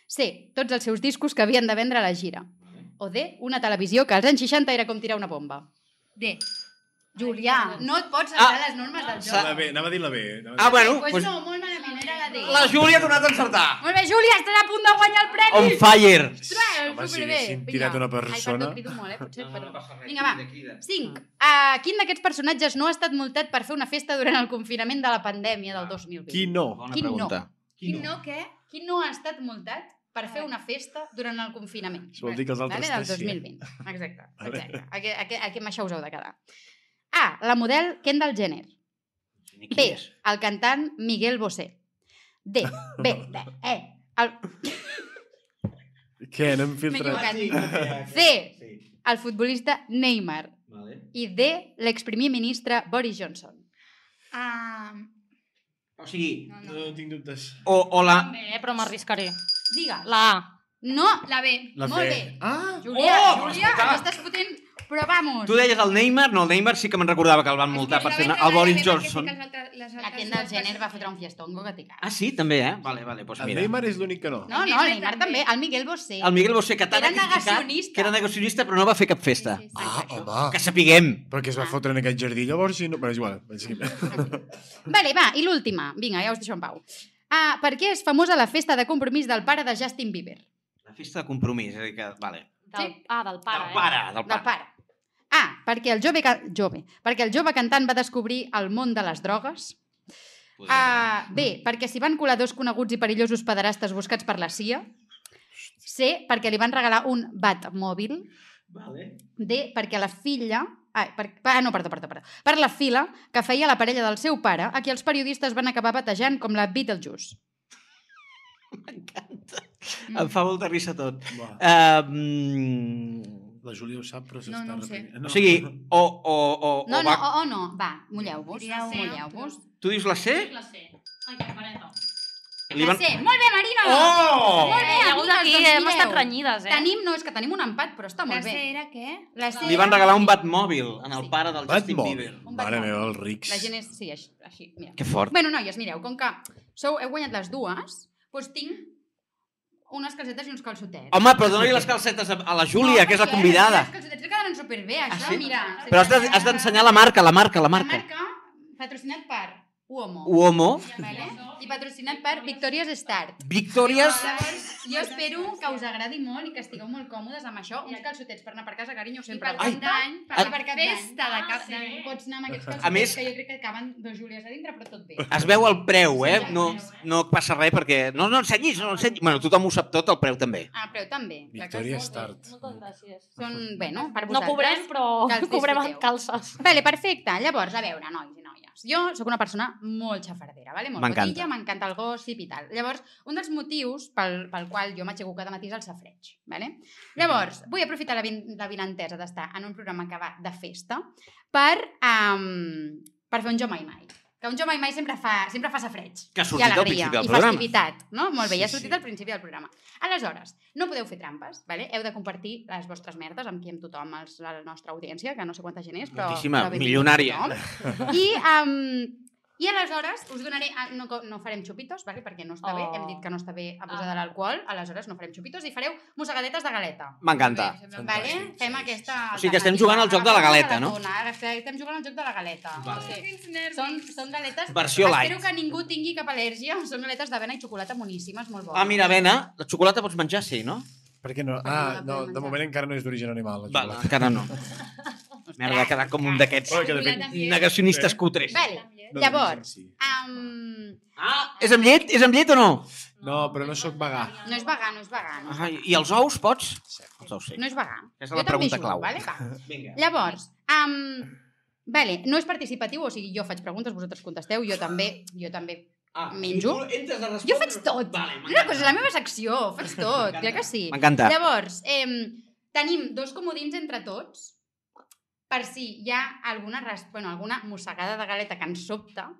C. Tots els seus discos que havien de vendre a la gira. O D. Una televisió que als anys 60 era com tirar una bomba. D. Julià, no et pots saltar Ah. les normes del Sa- joc. La B, anava a dir la B. eh? Anava a Ah, dir- bueno, Pues pues, no, molt malament, era la D. la Júlia ha tornat a encertar. Molt bé, Júlia, estàs a punt de guanyar el premi! On fire. Home, Ostres, si superbé. haguéssim Vinga. tirat una Ai, persona... perdó, crido molt, eh? Potser, perdó. passa Vinga, va. Cinc. Uh, quin d'aquests personatges no ha estat multat per fer una festa durant el confinament de la pandèmia del 2020? Qui no? Bona Quin no? pregunta. Quin no, què? Qui no ha estat multat per fer una festa durant el confinament? Això vol dir que els altres vale, del tres sí. 2020. Exacte, <laughs> Vale. exacte. Aquí, aquí, aquí amb això us heu de quedar. A. La model Kendall Jenner. Ni B. qui és. El cantant Miguel Bosé. D. B. <laughs> D. E. El, Què, n'hem M'he filtrat? equivocat. C. Sí, el futbolista Neymar. vale. i D, l'exprimer ministre Boris Johnson. Ah, O sigui, no, no. No tinc dubtes. o, o la... Bé, Ah. eh, però m'arriscaré. Diga. La A. No, La B. La Molt fe. bé. Ah! Julià, Oh, oh, però Julià, escolta. m'estàs fotent... Però vamos. Tu deies el Neymar? No, el Neymar sí que me'n recordava que el van multar per fer Estaven el Boris treballant bé perquè sé Johnson. que els altres- les La altres Kendall dues Jenner va persones- fotre un fiestongo que t'hi caga. Ah, sí? També, eh? Vale, vale, doncs El mira. Neymar és l'únic que no. No, no, el Neymar també. El Miguel Bosé. El Miguel Bosé, que tant Era ha criticat, negacionista. que era negacionista, però no va fer cap festa. Sí, sí, sí. Ah, home. Que sapiguem. Però que es va fotre en aquest jardí, llavors, si no... Però és igual. Sí. Vale, va, i l'última. Vinga, ja us deixo en pau. Ah, per què és famosa la festa de compromís del pare de Justin Bieber? La festa de compromís, és a dir que... Vale. Del, Sí. Ah, del pare, Del pare, del Del pare. pare. A, perquè el jove, ca- jove, perquè el jove cantant va descobrir el món de les drogues. Podria- Uh, B, perquè s'hi van colar dos coneguts i perillosos pederastes buscats per la CIA. C, perquè li van regalar un Batmòbil. Vale. D, perquè la filla... Ai, per, ah, no, perdó, perdó, perdó. Per la fila que feia la parella del seu pare, a qui els periodistes van acabar batejant com la Beetlejuice. Em fa molta risa tot. Va. Uh, mm, La Júlia ho sap, però s'està No, no ho sé. reprimint. o sigui, o, o, o, No, o no, va... o, o no. Va, mulleu-vos. Diria una, Mulleu-vos. Tu dius la C? eh? La C. Ai, que pareta. Li La C. Molt bé, Marina! Oh! Molt bé, Eh, amigues, llavors aquí doncs hem estat mireu. renyides, eh? Tenim, no, és que tenim un empat, però està La molt C bé. era què? La C Li van regalar un Batmòbil en el pare del Bat Justin Bieber. mòbil. Un Mare Batmòbil. meva, els rics. La gent és... Sí, així, així mira. Que fort. Bueno, noies, mireu, com que sou, heu guanyat les dues, doncs tinc unes calcetes i uns calçotets. Home, però dona-li les calcetes a a la Júlia, que és la perquè convidada. Ah, Les calcetets li quedaran superbé, això, sí? mira. Però has de- has d'ensenyar la marca, la marca, la La marca. marca patrocinat per Uomo. Uomo, Vale? I patrocinat per Victoria's Start. Victòries... Llavors, jo espero que us agradi molt i que estigueu molt còmodes amb això. Uns calçotets per anar per casa, carinyo, sempre. I Ai. pel cap d'any, per Ah. la festa de cap d'any. Pots anar amb aquests A calçotets més- que jo crec que caben dos Júlies a dintre, però tot bé. Es veu el preu, eh? Sí, ja No, veus, eh? no passa res perquè... No, no ensenyis, no ensenyis. Bueno, tothom ho sap tot, el preu també. Ah, preu també. clar que Victoria sí. Start. Moltes gràcies. Són, bueno, per No vosaltres. cobrem, però que els cobrem en disfruteu. calces. Vale, perfecte. Llavors, a veure, nois i noies. Jo sóc una persona molt xafardera, vale? molt M'encanta. botilla, m'encanta el gossip i tal. Llavors, un dels motius pel, pel qual jo m'aixeco cada matí és el safreig. Vale? Llavors, vull aprofitar la, vin la vinentesa d'estar en un programa que va de festa per, um, per fer un jo mai mai. Que un jo mai mai sempre fa, sempre fa safreig. Que ha I sortit al alegria, principi del i programa. festivitat, no? Molt bé, Sí, ja ha sortit sí. al principi del programa. Aleshores, no podeu fer trampes, vale? heu de compartir les vostres merdes amb qui amb tothom, els, la nostra audiència, que no sé quanta gent és, però... Moltíssima, però bé, milionària. tothom. I, um, I aleshores us donaré... ah, No, co- no farem xupitos, vale? perquè no està Oh. bé, hem dit que no està bé abusar Ah. de l'alcohol, aleshores no farem xupitos i fareu mossegadetes de galeta. M'encanta. Vale? Fantàstic, Fem sí, aquesta... sí, O sigui que estem jugant al joc de la galeta, no? Ara estem jugant al joc de la galeta. Vale. Sí. Quins nervis. Són, són galetes... Versió light. Espero que ningú tingui cap al·lèrgia. Són galetes d'avena i xocolata boníssimes, molt bones. Ah, mira, Bena, la xocolata pots menjar, sí, no? Per què no? Perquè Ah, no no, de la podem menjar. moment encara no és d'origen animal. la Val, xocolata. encara no. Merda, ha quedat com un d'aquests Oi, que de fet... També. negacionistes cutres. Vale. no Llavors, d'origen, sí. Um, Ah, és amb llet? És amb llet o no? No, però no sóc vegà. no és vegà, no és vegà. No, Ah, I els ous, pots? Els ous, sí. no és vegà. Ah, Aquesta és la pregunta clau. Vale? <laughs> Va. Vinga. Llavors, um, vale, no és participatiu, o sigui, jo faig preguntes, vosaltres contesteu, jo també, jo també. Ah, Menjo. i tu entres a respondre- Jo faig tot. Vale, Una cosa, és m'encanta. la meva secció, <laughs> faig tot, ja que sí. M'encanta. Llavors, eh, tenim dos comodins entre tots per si hi ha alguna, res- bueno, alguna mossegada de galeta que ens sobta,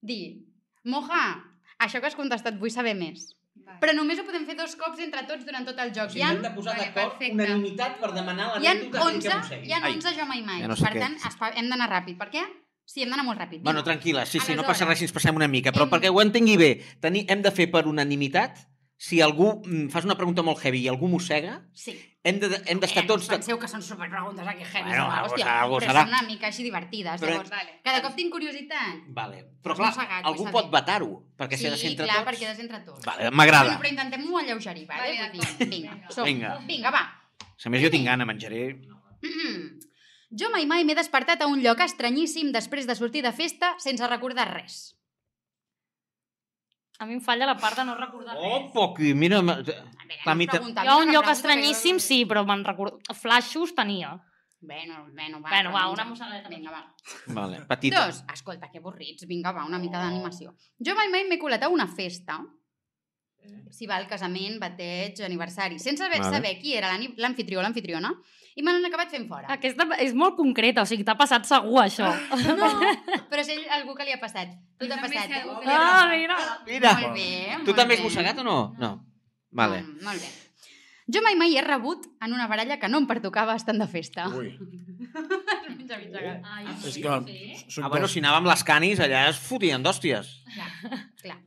dir, moja, això que has contestat vull saber més. Vale. Però només ho podem fer dos cops entre tots durant tot el joc. Hi ha, S'intenta posar Vale, d'acord perfecte. unanimitat per demanar hi ha l'anècdota fins que 11, aconseguim. hi ha Ai. 11 jo mai mai. Ja no no sé per què tant, és. espa- hem d'anar ràpid. Per què? Sí, hem d'anar molt ràpid. Bueno, Vinga. tranquil·la, sí, sí, no Aleshores, passa res si ens passem una mica, però hem- perquè ho entengui bé, tenir, hem de fer per unanimitat, si algú mm, fas una pregunta molt heavy i algú mossega, Sí. hem d'estar de, hem d'estar Eh, tots... De... Penseu que són superpreguntes aquí, heavy. Bueno, algo hòstia, serà, algo però serà. són una mica així divertides. Però- Llavors, Vale. cada cop tinc curiositat. Vale. Però Has clar, mossegat, algú vull pot saber. vetar-ho, perquè s'ha de ser entre clar, tots. perquè ha de ser entre tots. Vale, Bueno, m'agrada. però intentem-ho alleugerir, vale? Vale, Vull dir, d'acord. vinga, Vinga. som. Vinga. Vinga, va. <clears throat> A més, jo tinc gana, menjaré... Mm. Jo mai mai m'he despertat a un lloc estranyíssim després de sortir de festa sense recordar res. A mi em falla la part de no recordar Oh, res. poqui, mira... me- A veure, La no es mita- pregunta, Jo no un es lloc pregunta, estranyíssim, però- sí, però me'n recordo... Flashos tenia. Bueno, bueno, va. Bueno, va, però una menja. mossegadeta. Vinga, va. Vale, petita. Dos, escolta, que avorrits, vinga, va, una mica d'animació. Jo mai mai m'he colat a una festa, Eh. si va al casament, bateig, aniversari, sense saber, Vale. saber qui era l'ani- l'anfitrió o l'anfitriona, i me n'han acabat fent Ah, fora. Aquesta és molt concreta, o sigui, t'ha passat segur, això. <laughs> No, però és ell, algú que li ha passat. Tu t'ha Doncs també passat. eh? sé algú que li Ah, mira! Mira, Molt bé. tu també has mossegat eh? o no? No. Vale. Mm, molt bé. Jo mai mai he rebut en una baralla que no em pertocava estant de festa. Ui. Mitja, mitja, gat. Ai, És sí, que... sí. Soc Ah, bueno, dos. si anàvem les canis, allà es fotien d'hòsties. Clar, clar.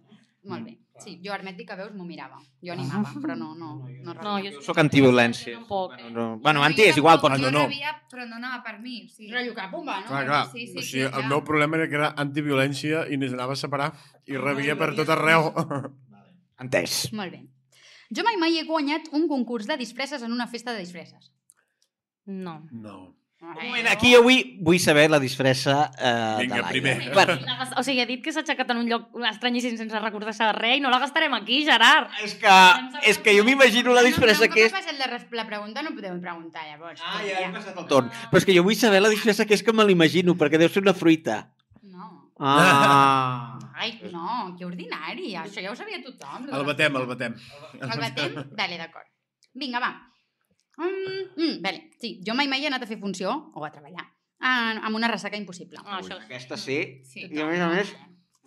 Molt Mm. bé. Sí, jo hermètic que veus m'ho mirava. Jo animava, però no, no, no, No, rebia. jo Soc antiviolència. Tampoc. Bueno, no. bueno Jo anti és igual, però... Ah, no, tampoc, jo no. rebia, però no anava per mi. Sí. Rotllo que, pumba, no? Clar, clar. Sí, sí, o sí, sigui, el clar. meu problema era que era antiviolència i ens anava a separar i rebia per tot arreu. Entès. Molt bé. Jo mai mai he guanyat un concurs de disfresses en una festa de disfresses. No. No. Un moment, aquí jo vull, vull saber la disfressa eh, Vinga, de l'Aia. primer. Per, La gas- O sigui, he dit que s'ha aixecat en un lloc estranyíssim sense recordar-se de res i no la gastarem aquí, Gerard. és que, és que jo m'imagino la disfressa no, que No, és... Ah, un cop he passat la, res- la pregunta, no podeu preguntar, llavors. perquè passat el torn. Però és que jo vull saber la disfressa que és que me l'imagino, perquè deu ser una fruita. No. Ah. Ai, no, que ordinari. Això ja ho sabia tothom. El batem, el batem. El batem? Vale, d'acord. Vinga, va. Mm, mm, vale, sí. Jo mai mai he anat a fer funció, o a treballar, en, amb una ressaca impossible. Ah, això... Aquesta sí. Sí. I a més a més...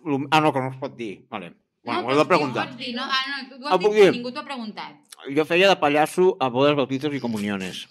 lo- Ah, no, que no es pot dir. Vale. Bueno, ho heu de pots dir, preguntar. pots dir, No, ah, no, tu ho Ah, has puc dit, però dir? ningú t'ho ha preguntat. Jo feia de pallasso a bodes, bautizos i comuniones.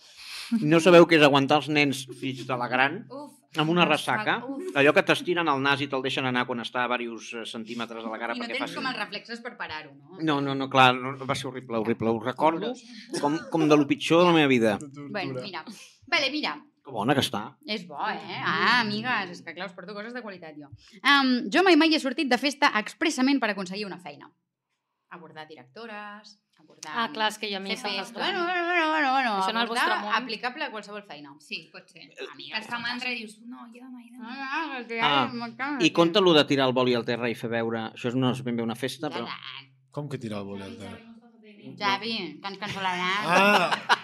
No sabeu què és aguantar els nens fills de la gran Uf. amb una ressaca, Uf. allò que t'estiren al nas i te'l deixen anar quan està a diversos eh, centímetres de la cara I no perquè tens faci... com els reflexes per parar-ho, no? No, no, no, clar, no, va ser horrible, horrible. Ho recordo com, com de lo pitjor de la meva vida. Bueno, mira. Vale, mira, Que bona que està. és bo, eh? Ah, amigues, és que clar, us porto coses de qualitat, jo. Um, jo mai mai he sortit de festa expressament per aconseguir una feina. Abordar directores, abordar... Ah, clar, és que jo a mi fer em sembla festa... estrany. Bueno, bueno, bueno, bueno, bueno. Això en el abordar vostre món. aplicable a qualsevol feina. Sí, pot ser. Que Amiga, et fa mandra i dius, no, ja demà, ja demà. Ah, Ah, I compta lo de tirar el boli al terra i fer veure... Això no és ben bé una festa, però... Com que tirar el eh? boli al terra? Xavi, que ens cancel·laran. Ah,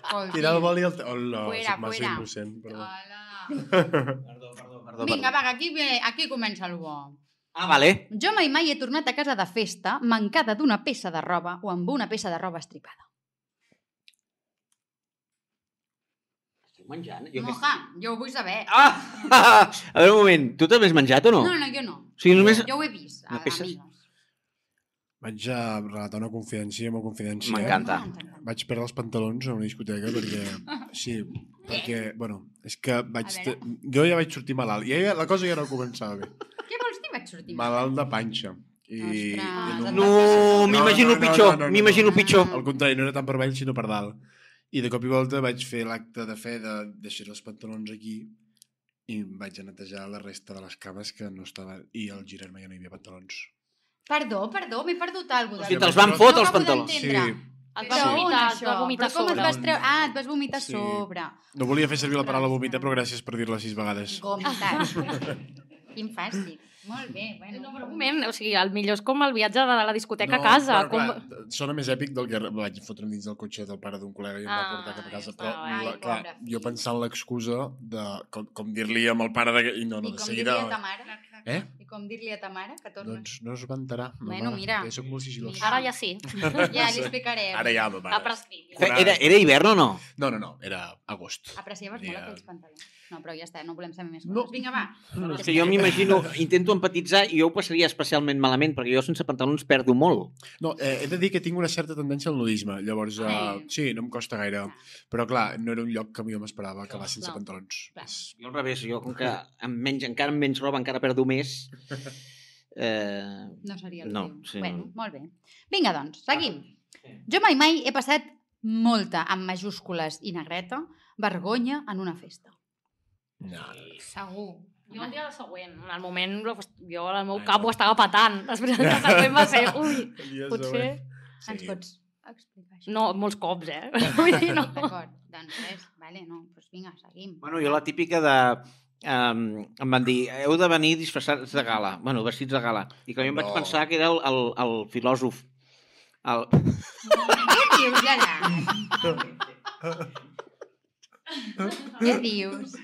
Escolti. tirar el boli al terra. Hola, Fuera, soc massa fuera. innocent. Perdó. Hola. Perdó, perdó, perdó. Vinga, va, que aquí, ve- aquí comença el bo. Ah, vale. Jo mai mai he tornat a casa de festa mancada d'una peça de roba o amb una peça de roba estripada. menjant? Moja, jo ho vull saber. Ah! <laughs> A veure, un moment. Tu també has menjat o no? No, no, jo no. O sigui, només... Jo ho he vist. No a- peces? amigues. Vaig a relatar una confidència molt confidència. M'encanta. Ah, Vaig perdre els pantalons a una discoteca <laughs> perquè... Sí, perquè, bueno, és que vaig... A Te... veure. Jo ja vaig sortir malalt. I ja, la cosa ja no començava bé. Què vols dir? Vaig sortir. Malalt de panxa. I, i Ostres. en No, m'imagino No, no, no, pitjor, no, no, no. m'imagino pitjor. Al contrari, no era tant per avall, sinó per dalt. I de cop i volta vaig fer l'acte de fe de deixar els pantalons aquí i em vaig a netejar la resta de les cames que no estava... I al girar-me ja no hi havia pantalons. Perdó, perdó, m'he perdut O alguna cosa. sigui, te'ls van fotre no els acabo pantalons. d'entendre. Sí. Et Però vas Sí. vomitar, et on, això? vas vomitar Però com et sobre. vas treure... Ah, et vas vomitar Sí. sí. sobre. No volia fer servir la paraula vomitar, però gràcies per dir-la sis vegades. <laughs> Gomitat. Quin fàstic. Molt bé, bueno. No, però un moment, o sigui, el millor és com el viatge de la discoteca a No, casa. però, com... clar, sona més èpic del que vaig fotre dins del cotxe del pare d'un col·lega i em va Ah, portar cap a casa. ja Però, està, ai, la, clar, pobre jo fill. pensant l'excusa de com, com dir-li amb el pare... De... I no, no, I de com seguida... dir-li a ta mare? Eh? I com dir-li a ta mare que torna? Doncs no es vantarà. ma Bueno, mare, mira. Que soc molt sigilós. Mira. Ara ja <laughs> sí, Doncs- Ja li explicarem. Ara ja, ma ha mare. prescrit. Fe- Era, era hivern o no? No, no, no, era agost. Apreciaves Ja. molt aquells pantalons. No, però ja està, no volem saber més coses. No. Vinga, va. No, és que jo m'imagino, intento empatitzar i jo ho passaria especialment malament, perquè jo sense pantalons perdo molt. No, eh, he de dir que tinc una certa tendència al nudisme, llavors... Eh, Ai. sí, no em costa gaire. Però, clar, no era un lloc que jo m'esperava acabar sense Clar. pantalons. Clar. És- Jo al revés, jo com que em menys, encara em menys roba, encara perdo més. Eh, No seria el No, tio. sí, bueno, no. molt bé. Vinga, doncs, seguim. Sí. Jo mai mai he passat molta, amb majúscules i negreta, vergonya en una festa. No, Segur. Jo el dia de següent, en el moment, jo el meu Ai, cap no. ho estava petant. Després el dia següent va <laughs> ser, ui, potser... Sí. Ens pots explicar això? No, molts cops, eh? <laughs> Vull dir, no. D'acord, doncs res, vale, no, doncs vinga, seguim. Bueno, jo la típica de... Um, em van dir, heu de venir disfressats de gala. Bueno, vestits de gala. I que jo em vaig No. pensar que era el, el, el filòsof. <laughs> El... <laughs> Què dius, Gerard? Què dius?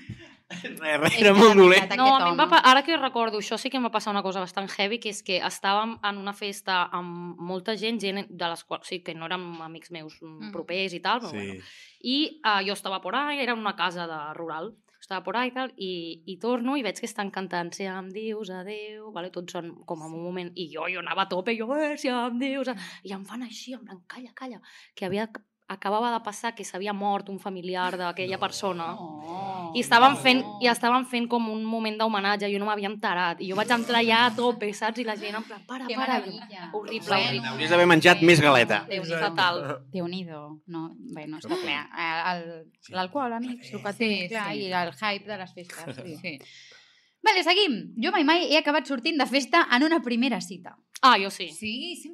Era mongoler. Aquest No, a mi em va, home. pa- ara que ho recordo, això sí que em va passar una cosa bastant heavy, que és que estàvem en una festa amb molta gent, gent de les quals, o sigui, que no érem amics meus mm, Mhm. propers i tal, però sí. Sí. bueno, I uh, jo estava por ahí, era una casa de rural, estava por ahí i tal, i, i torno i veig que estan cantant si em dius adeu, vale? tots són com en un moment, i jo, jo anava a tope, jo, eh, si em dius adeu, i em fan així, en plan, calla, calla, que havia, acabava de passar que s'havia mort un familiar d'aquella No. no. persona. Oh, I estaven, fent, no. I estaven fent com un moment d'homenatge, jo no m'havia enterat, i jo vaig entrar ja a tope, saps? I la gent en plan, para, Que para, meravella. horrible. Bueno, Hauries d'haver menjat més galeta. déu nhi fatal. Déu-n'hi-do. No, bé, no està Però clar. El- Sí. L'alcohol, amics, el que té, Sí, clar, sí. i el hype de les festes. Sí. Sí. Vale, seguim. Jo mai mai he acabat sortint de festa en una primera cita. Ah, jo sí. Sí, 100%.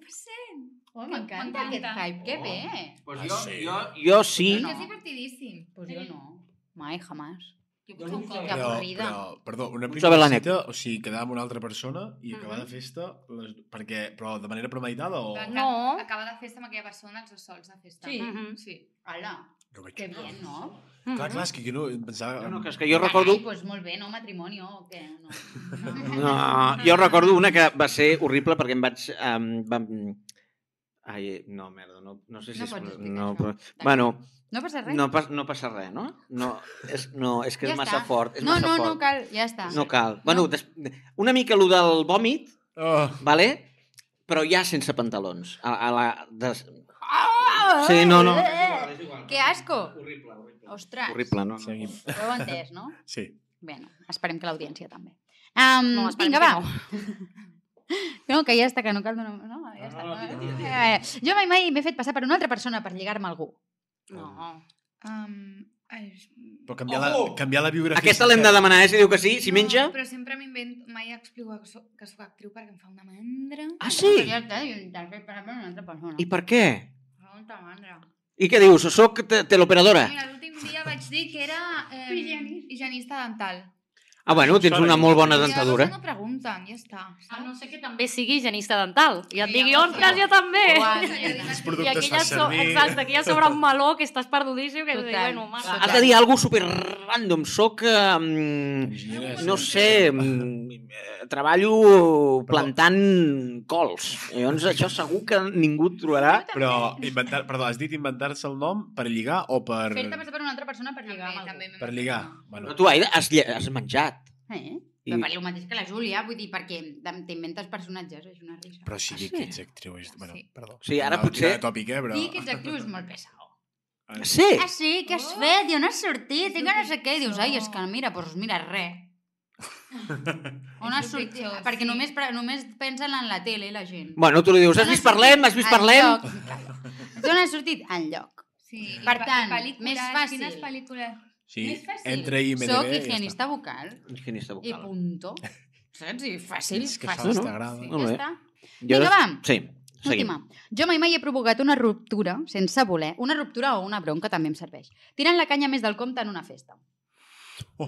Oh, m'encanta. hype, que Oh. bé. Doncs Pues Ah, jo, sí? jo, jo sí. No. No. És divertidíssim. Pues jo no. Mai, jamás. Jo Jo un no sé. cop. Que avorrida. Però, perdó, una saber primera la net. cita, o sigui, quedar amb una altra persona i acabar Mhm. de festa, les, perquè, però de manera premeditada o... Clar, No. Acaba de festa amb aquella persona, els dos sols de festa. Ah. Sí. Mhm. sí. Hola, No vaig... Mm-hmm. que bien, no? Clar, Mhm. clar, és que jo no em pensava... No, no, que és que jo recordo... Ai, pues molt bé, no? Matrimoni o què? No. <laughs> No, jo recordo una que va ser horrible perquè em vaig... Um, vam... Ai, no, merda, no, no sé si... No és- pots explicar no, això. però- Bueno, No passa res. no, pas, no passa res, no? No, és, no, és que Ja és massa està. fort. És no, massa no, no fort. cal, ja està. No cal. Bueno, des... una mica allò del vòmit, Oh, vale? però ja sense pantalons. A, a la, des... Sí, no, no. Ah! Eh, igual. Que asco! Horrible, horrible. Ostres, Horrible, no? no. seguim. ho heu entès, no? Sí. Bueno, esperem que l'audiència també. Um, No, no, esperem vinga, que va. no. <laughs> No. que ja està, que no cal donar... No, ja està. no, tira, tira, Eh, jo mai mai m'he fet passar per una altra persona per lligar-me a algú. Ah. No. Um, és... Però canviar, oh! la, canviar la biografia... Aquesta l'hem de demanar, eh? Si diu que sí, si menja... No, però sempre m'invent... Mai explico que soc, que soc actriu perquè em fa una mandra. Ah, sí? Ja està, jo t'has fet passar per una altra persona. I per què? Em fa una mandra. I què dius? Soc te teleoperadora? Mira, l'últim dia vaig dir que era eh, Ah, Higienista. higienista dental. Ah, bueno, tens una molt bona dentadura. no pregunten, ja està. Ah, A saps? no sé que també sigui higienista dental. I et Sí, digui, ja ho ostres, sé. jo també! <laughs> Quins I productes aquí ja, fas so, servir? exacte, aquí ja sobre un meló que estàs perdudíssim, que dius, Total. bueno, mare. Has de dir alguna cosa super random. Soc... mm, Enginyera, no sí. sé, mm, eh, treballo plantant cols. Llavors, això segur que ningú et trobarà. Però, inventar, perdó, has dit inventar-se el nom per lligar o per... Fer-te passar per una altra persona per lligar amb algú. Per lligar. Bueno, Però tu, Aida, has, lle- has menjat. Eh? I- Però per el mateix que la Júlia, vull dir, perquè t'in- t'inventes personatges, és una risa. però sí, Ah, dic sí? que ets actriu. És... Bueno, Sí. perdó. Sí, ara Anava a tirar potser- de Tòpic, eh, però... Dir que ets actriu és molt pesat. Sí, Ah, sí? Què has Oh! fet? Jo no he sortit, tinc És no sé què. I dius, ai, és pitjor. que mira, doncs mira, res. On És has el sortit? pitjor, Perquè sí. només, pre- només pensen en la tele, la gent. Doncs Bueno, tu li dius, has vist Parlem? Has vist Parlem? Jo Doncs no he sortit enlloc. Sí, i Per pe- i tant, pel·lícules, més fàcil. Quines pel·lícules? Sí, Més fàcil. entra i IMDB Soc i ja <laughs> està. higienista vocal Higienista i vocal. punto. Saps? I fàcil, És que això fàcil. no? t'agrada. Sí, Molt ja bé. està. Jo- Vinga, va. Sí, seguim. Última. Jo mai mai he provocat una ruptura sense voler. Una ruptura o una bronca també em serveix. Tirant la canya més del compte en una festa. Oh,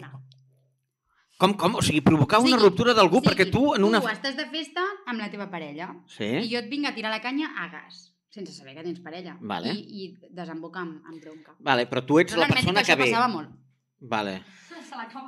Com, com? O sigui, provocar una Sigui- ruptura d'algú sigui, perquè tu en una... Eh? Tu estàs de festa amb la teva parella i Sí? jo et vinc a tirar la canya a gas, sense saber que tens parella. Vale. I, i desemboca amb, amb bronca. Vale, però tu ets Però la persona que això ve. passava molt. Vale.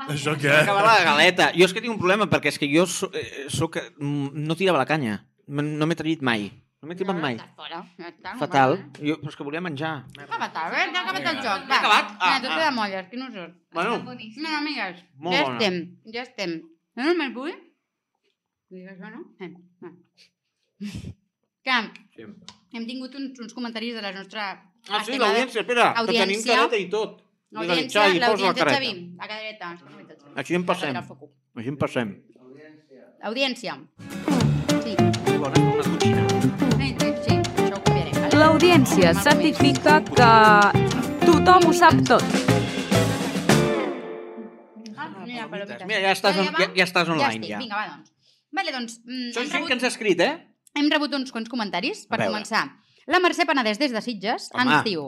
Això Acaba la què? galeta. Jo és que tinc un problema, perquè és que jo so- eh, sóc... mm, no tirava la canya. M- No m'he tret mai. No m'he tirat mai. Ja fora, ja està, no Fatal. va, eh? Jo, però és que volia menjar. Ja fatal, eh? Ja ha acabat el Vinga. joc. Ja ha acabat? Ah, Ah, tu ah. te de molles, que no surt. Bueno, No, amigues, Molt ja bona. estem, ja estem. No només vull... Digues, no? Eh, no. <laughs> que Sí. hem tingut uns, uns comentaris de la nostra... Ah, sí, estimada l'audiència, espera, que Audiència. tenim careta i tot. Digue'm, Audiència, Xavi, posa la l'audiència, careta. Xavi, la cadereta. Xavi. Així en passem, La foco. així en passem. Audiència. Sí, Bona, una cotxina. sí, sí, sí, això ho canviarem, vale? L'audiència certifica que tothom ho sap tot. Ah, mira, palomites. Mira, ja estàs, on, ja, ja estàs online, estic, ja. Vinga, va, doncs. Vale, doncs, mm, Són hem gent rebut, que ens ha escrit, eh? hem rebut uns quants comentaris per A veure. començar. La Mercè Penedès des de Sitges Home. ens diu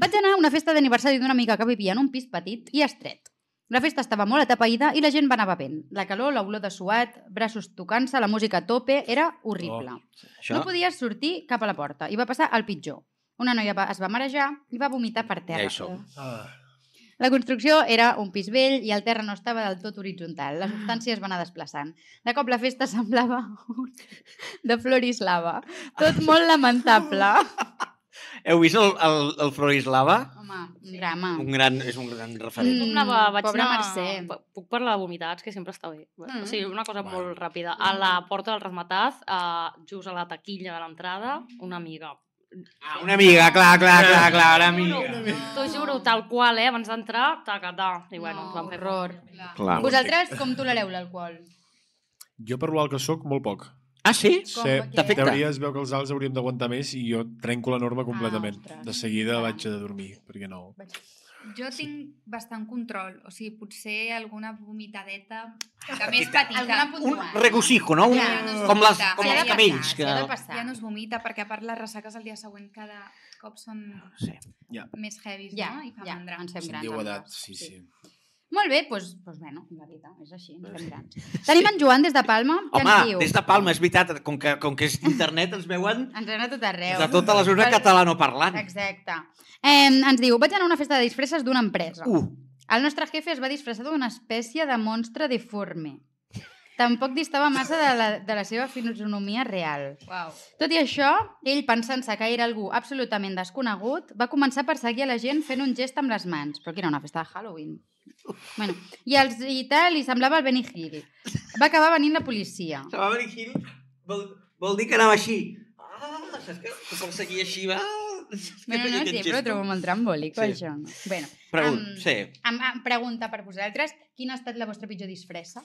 Vaig anar a una festa d'aniversari d'una amiga que vivia en un pis petit i estret. La festa estava molt atapeïda i la gent va anar bevent. La calor, l'olor de suat, braços tocant-se, la música a tope, era horrible. Oh, Això. No podies sortir cap a la porta i va passar el pitjor. Una noia va, es va marejar i va vomitar per Ja terra. hi som. Ah, La construcció era un pis vell i el terra no estava del tot horitzontal. La substància es va anar desplaçant. De cop la festa <laughs> semblava un de Florislava. Tot molt lamentable. Heu vist el, el, el Florislava? Home, un drama. Un gran, és un gran referent. <laughs> Ah. Mm, Mm, anava, vaig pobra anar... Mercè. P- Puc parlar de vomitats, que sempre està bé. Mm. O sigui, una cosa Val. molt ràpida. A la porta del resmataz, eh, just a la taquilla de l'entrada, una amiga. Ah, una amiga, clar, clar, clar, clar, una amiga. No. T'ho juro, tal qual, eh? Abans d'entrar, tacatà. I bueno, ens no, vam fer horror. Clar. Vosaltres com tolereu l'alcohol? jo per l'alt que sóc, molt poc. Ah, sí? Com, Sí, què? en T'afecta? teoria es veu que els alts hauríem d'aguantar més i jo trenco la norma completament. ostres. de seguida vaig a dormir, perquè no... Jo tinc bastant control, o sigui, potser alguna vomitadeta Ah, que més petita. Alguna Un puntual. regocijo, no? Un, Ja, no es com, les, vomita. com S'hi ha els de camells. passar, Que... s'hi ha de passar. Ja no es vomita, perquè a part les ressaques el dia següent cada cop són Sí. més heavies, Ja, no? I fa ja, mandra. ens fem Se'n grans. diu amigues. edat, sí, sí. Molt bé, doncs, doncs bueno, la vida és així, ens fem grans. Tenim en Joan des de Palma, que Home, ens diu... des de Palma, és veritat, com que, com que és internet ens veuen Ens anem a tot arreu. de tota la zona Pel- catalanoparlant. Exacte. Eh, ens diu, vaig anar a una festa de disfresses d'una empresa. Uh, El nostre jefe es va disfressar d'una espècie de monstre deforme. Tampoc distava massa de la, de la seva fisonomia real. Uau. Tot i això, ell, pensant-se que era algú absolutament desconegut, va començar a perseguir a la gent fent un gest amb les mans, però que era una festa de Halloween. Bueno, i, els, I tal, li semblava el Benny Hill. Va acabar venint la policia. se va venir Hill, vol, vol dir que anava així. Ah, saps que ho perseguia així, va? No, no, no, sí, però ho trobo molt trambòlic, sí. Sí. això. no? Bueno, Pregunt, amb- sí. Em, em pregunta per vosaltres, quina ha estat la vostra pitjor disfressa?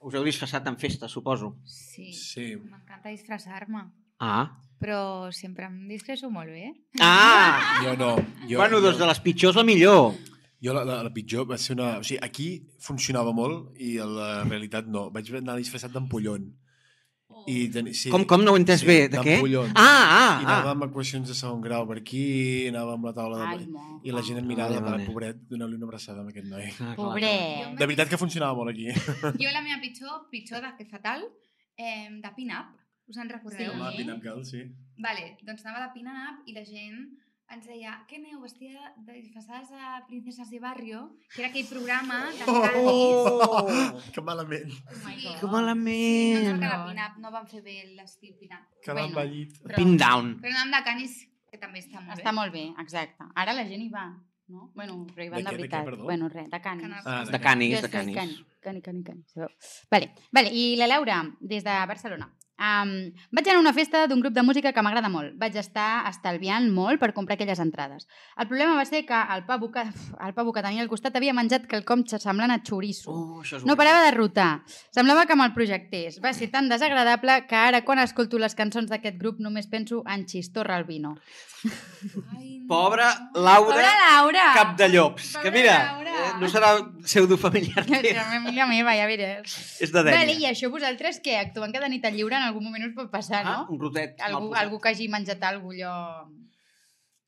Us heu disfressat en festa, suposo. Sí. Sí. M'encanta disfressar-me, Ah. però sempre em disfresso molt bé. Ah! Jo no. Jo, Jo, bueno, doncs jo- de les pitjors la millor. Jo la, la, la pitjor va ser una... O sigui, aquí funcionava molt i a la realitat no. Vaig anar disfressat d'ampollon. I teni... sí, Com, com no ho he entès bé? De què? d'ampollons. Ah, I ah, ah. anava amb equacions de segon grau per aquí, anava amb la taula de... Ai, mo. I la gent em mirava, Vale, vale, vale. pobret, doneu-li una abraçada a aquest noi. Ah, clar, Pobret. De veritat que funcionava molt aquí. Jo la meva pitjor, pitjor de que fatal, eh, de pin-up. Us en recordeu? Home, Sí. Pin-Up Girl, sí. Vale, doncs anava de pin-up i la gent ens deia què aneu, vestida de disfressades de princeses de barrio, que era aquell programa de oh, Oh, que malament. que No ens va malament. quedar pin-up, no vam fer bé l'estil pin-up. Que Bueno. l'han ballit. Però, Pin down. però anàvem de canis, que també està molt Està bé. molt bé, exacte. Ara la gent hi va, no? Bueno, però hi De van què, de, de què, veritat. perdó? bueno, res, de canis. Canis. Ah, De canis, Jo de soy canis. Cani, cani, cani, sabeu. Vale, vale, i la Laura, des de Barcelona. Um, vaig anar a una festa d'un grup de música que m'agrada molt. Vaig estar estalviant molt per comprar aquelles entrades. El problema va ser que el pavo que, uf, el pavo que tenia al costat havia menjat quelcom semblant a xoriço. Oh, això és No horrible. parava de rotar. Semblava que amb el projectés. Va ser tan desagradable que ara quan escolto les cançons d'aquest grup només penso en Xistorra al vino. Ai, no. Pobra Pobra Laura Laura! Cap de Llops. Que Pobra mira, Laura. eh, no serà <laughs> pseudofamiliar Que és teu. la meva meva, ja veuràs. És de Vale, i Dènia. això vosaltres què? Actuant cada nit al lliure en algun moment us pot passar, Ah, no? un rotet. mal Algú, posat. algú que hagi menjat alguna allò...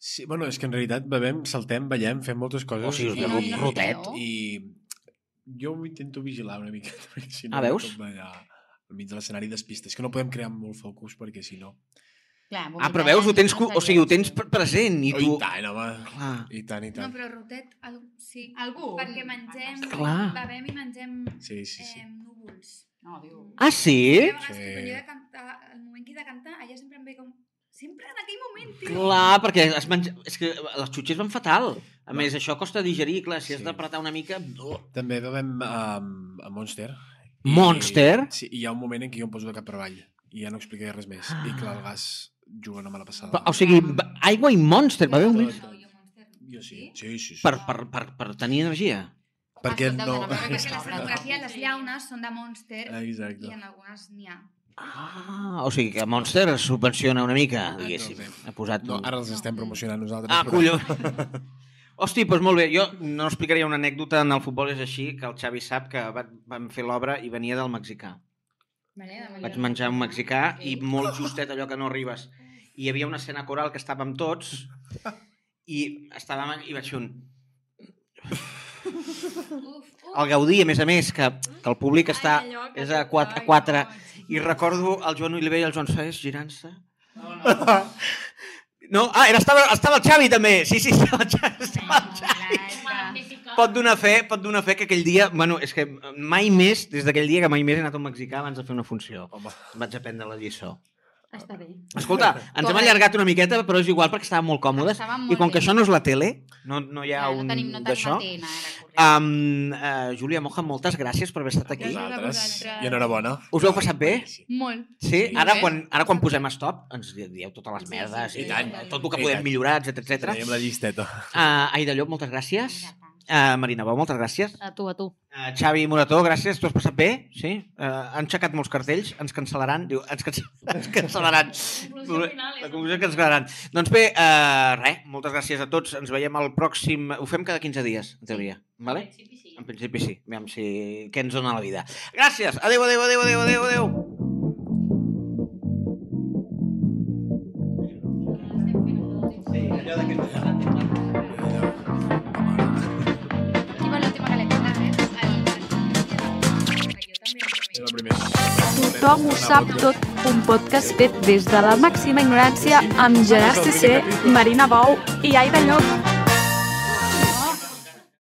Sí, bueno, és que en realitat bevem, saltem, ballem, fem moltes coses. Oh, sí, us i- veu i- rotet. I jo ho intento vigilar una miqueta, <laughs> perquè si no... Ah, veus? acabo Allà, al mig de l'escenari despistes, que no podem crear molt focus perquè si no... Clar, Ah, vomitar però veus, ho ja tens, no cu- o seria- sigui, ho tens pre- present i Oh, tu... I tant, home. Clar. I tant, i No, tant. però rotet, al... sí. Algú? Perquè mengem, Clar. bevem i mengem Sí, sí, sí. eh, núvols. No, diu... Ah, sí? Hi ha vegades Sí. que quan jo he de cantar, el moment que he de cantar, allà sempre em ve com... Sempre en aquell moment, tio. Clar, perquè es menja... és que les xutxes van fatal. A més, això costa digerir, clar, si has Sí. d'apretar una mica... Oh. També bevem um, a Monster. Monster? I, sí, i hi ha un moment en què jo em poso de cap per avall i ja no explicaré res més. I clar, el gas juga una mala passada. Però, Ah. o sigui, va- aigua i Monster, va bé un... Tot. No, jo Monster no. Jo sí. Sí, sí, sí. Per, per, per, per tenir energia. Perquè Escolta, no... dona, perquè Perquè la Exacte. fotografia, les llaunes són de Monster i Exacte. en algunes n'hi ha. Ah, o sigui que Monster es subvenciona una mica, diguéssim. Entonces, Ha posat... No, un- ara els estem promocionant nosaltres. Ah, però- <laughs> collons. Hosti, doncs molt bé. Jo no explicaria una anècdota en el futbol és així, que el Xavi sap que va, vam fer l'obra i venia del mexicà. Vaig menjar un mexicà i molt justet allò que no arribes. I hi havia una escena coral que estàvem tots i estàvem i vaig fer un... Uf, uf. El Gaudí, a més a més, que, que el públic està... és a 4 a 4. I recordo el Joan Oliver i el Joan Saez girant-se. <laughs> No, ah, era, estava, estava el Xavi també. Sí, sí, estava el Xavi. Estava el Xavi. pot donar fe, pot donar fe que aquell dia, bueno, és que mai més, des d'aquell dia que mai més he anat a un mexicà abans de fer una funció. Home, Vaig aprendre la lliçó. Està bé. Escolta, ens hem Correcte. allargat una miqueta, però és igual perquè estàvem molt còmodes. Estàvem molt I com que bé. això no és la tele, no, no hi ha Ara un no tenim, no d'això... tenim matina, ara, correcte. Um, uh, Júlia Moja, moltes gràcies per haver estat aquí. vosaltres. I enhorabona. Us ho heu passat bé? Sí. Molt. Sí, Sí. ara quan, ara quan posem stop ens di- dieu totes les merdes eh? sí, i sí, tant, sí. tot el que I podem tant. millorar, etc etc. Tenim la llisteta. Uh, Aida Llop, moltes gràcies. Uh, Marina Bau, moltes gràcies. A tu, a tu. Uh, Xavi Morató, gràcies, t'ho has passat bé? Sí? Uh, han aixecat molts cartells, ens cancel·laran, diu, ens, cance <laughs> ens cancel·laran. conclusió final és- La conclusió que ens cancel·laran. Doncs bé, uh, res, moltes gràcies a tots, ens veiem al pròxim... Ho fem cada 15 dies, en teoria, vale? En principi sí, aviam si... què ens dona la vida. Gràcies, adeu, adeu, adeu, adeu, adeu, adeu. Aquí va l'última galeta. Era la primera. Tothom ho sap tot, un podcast fet des de la màxima ignorància amb Gerard Cissé, Marina Bou i Aida Llop.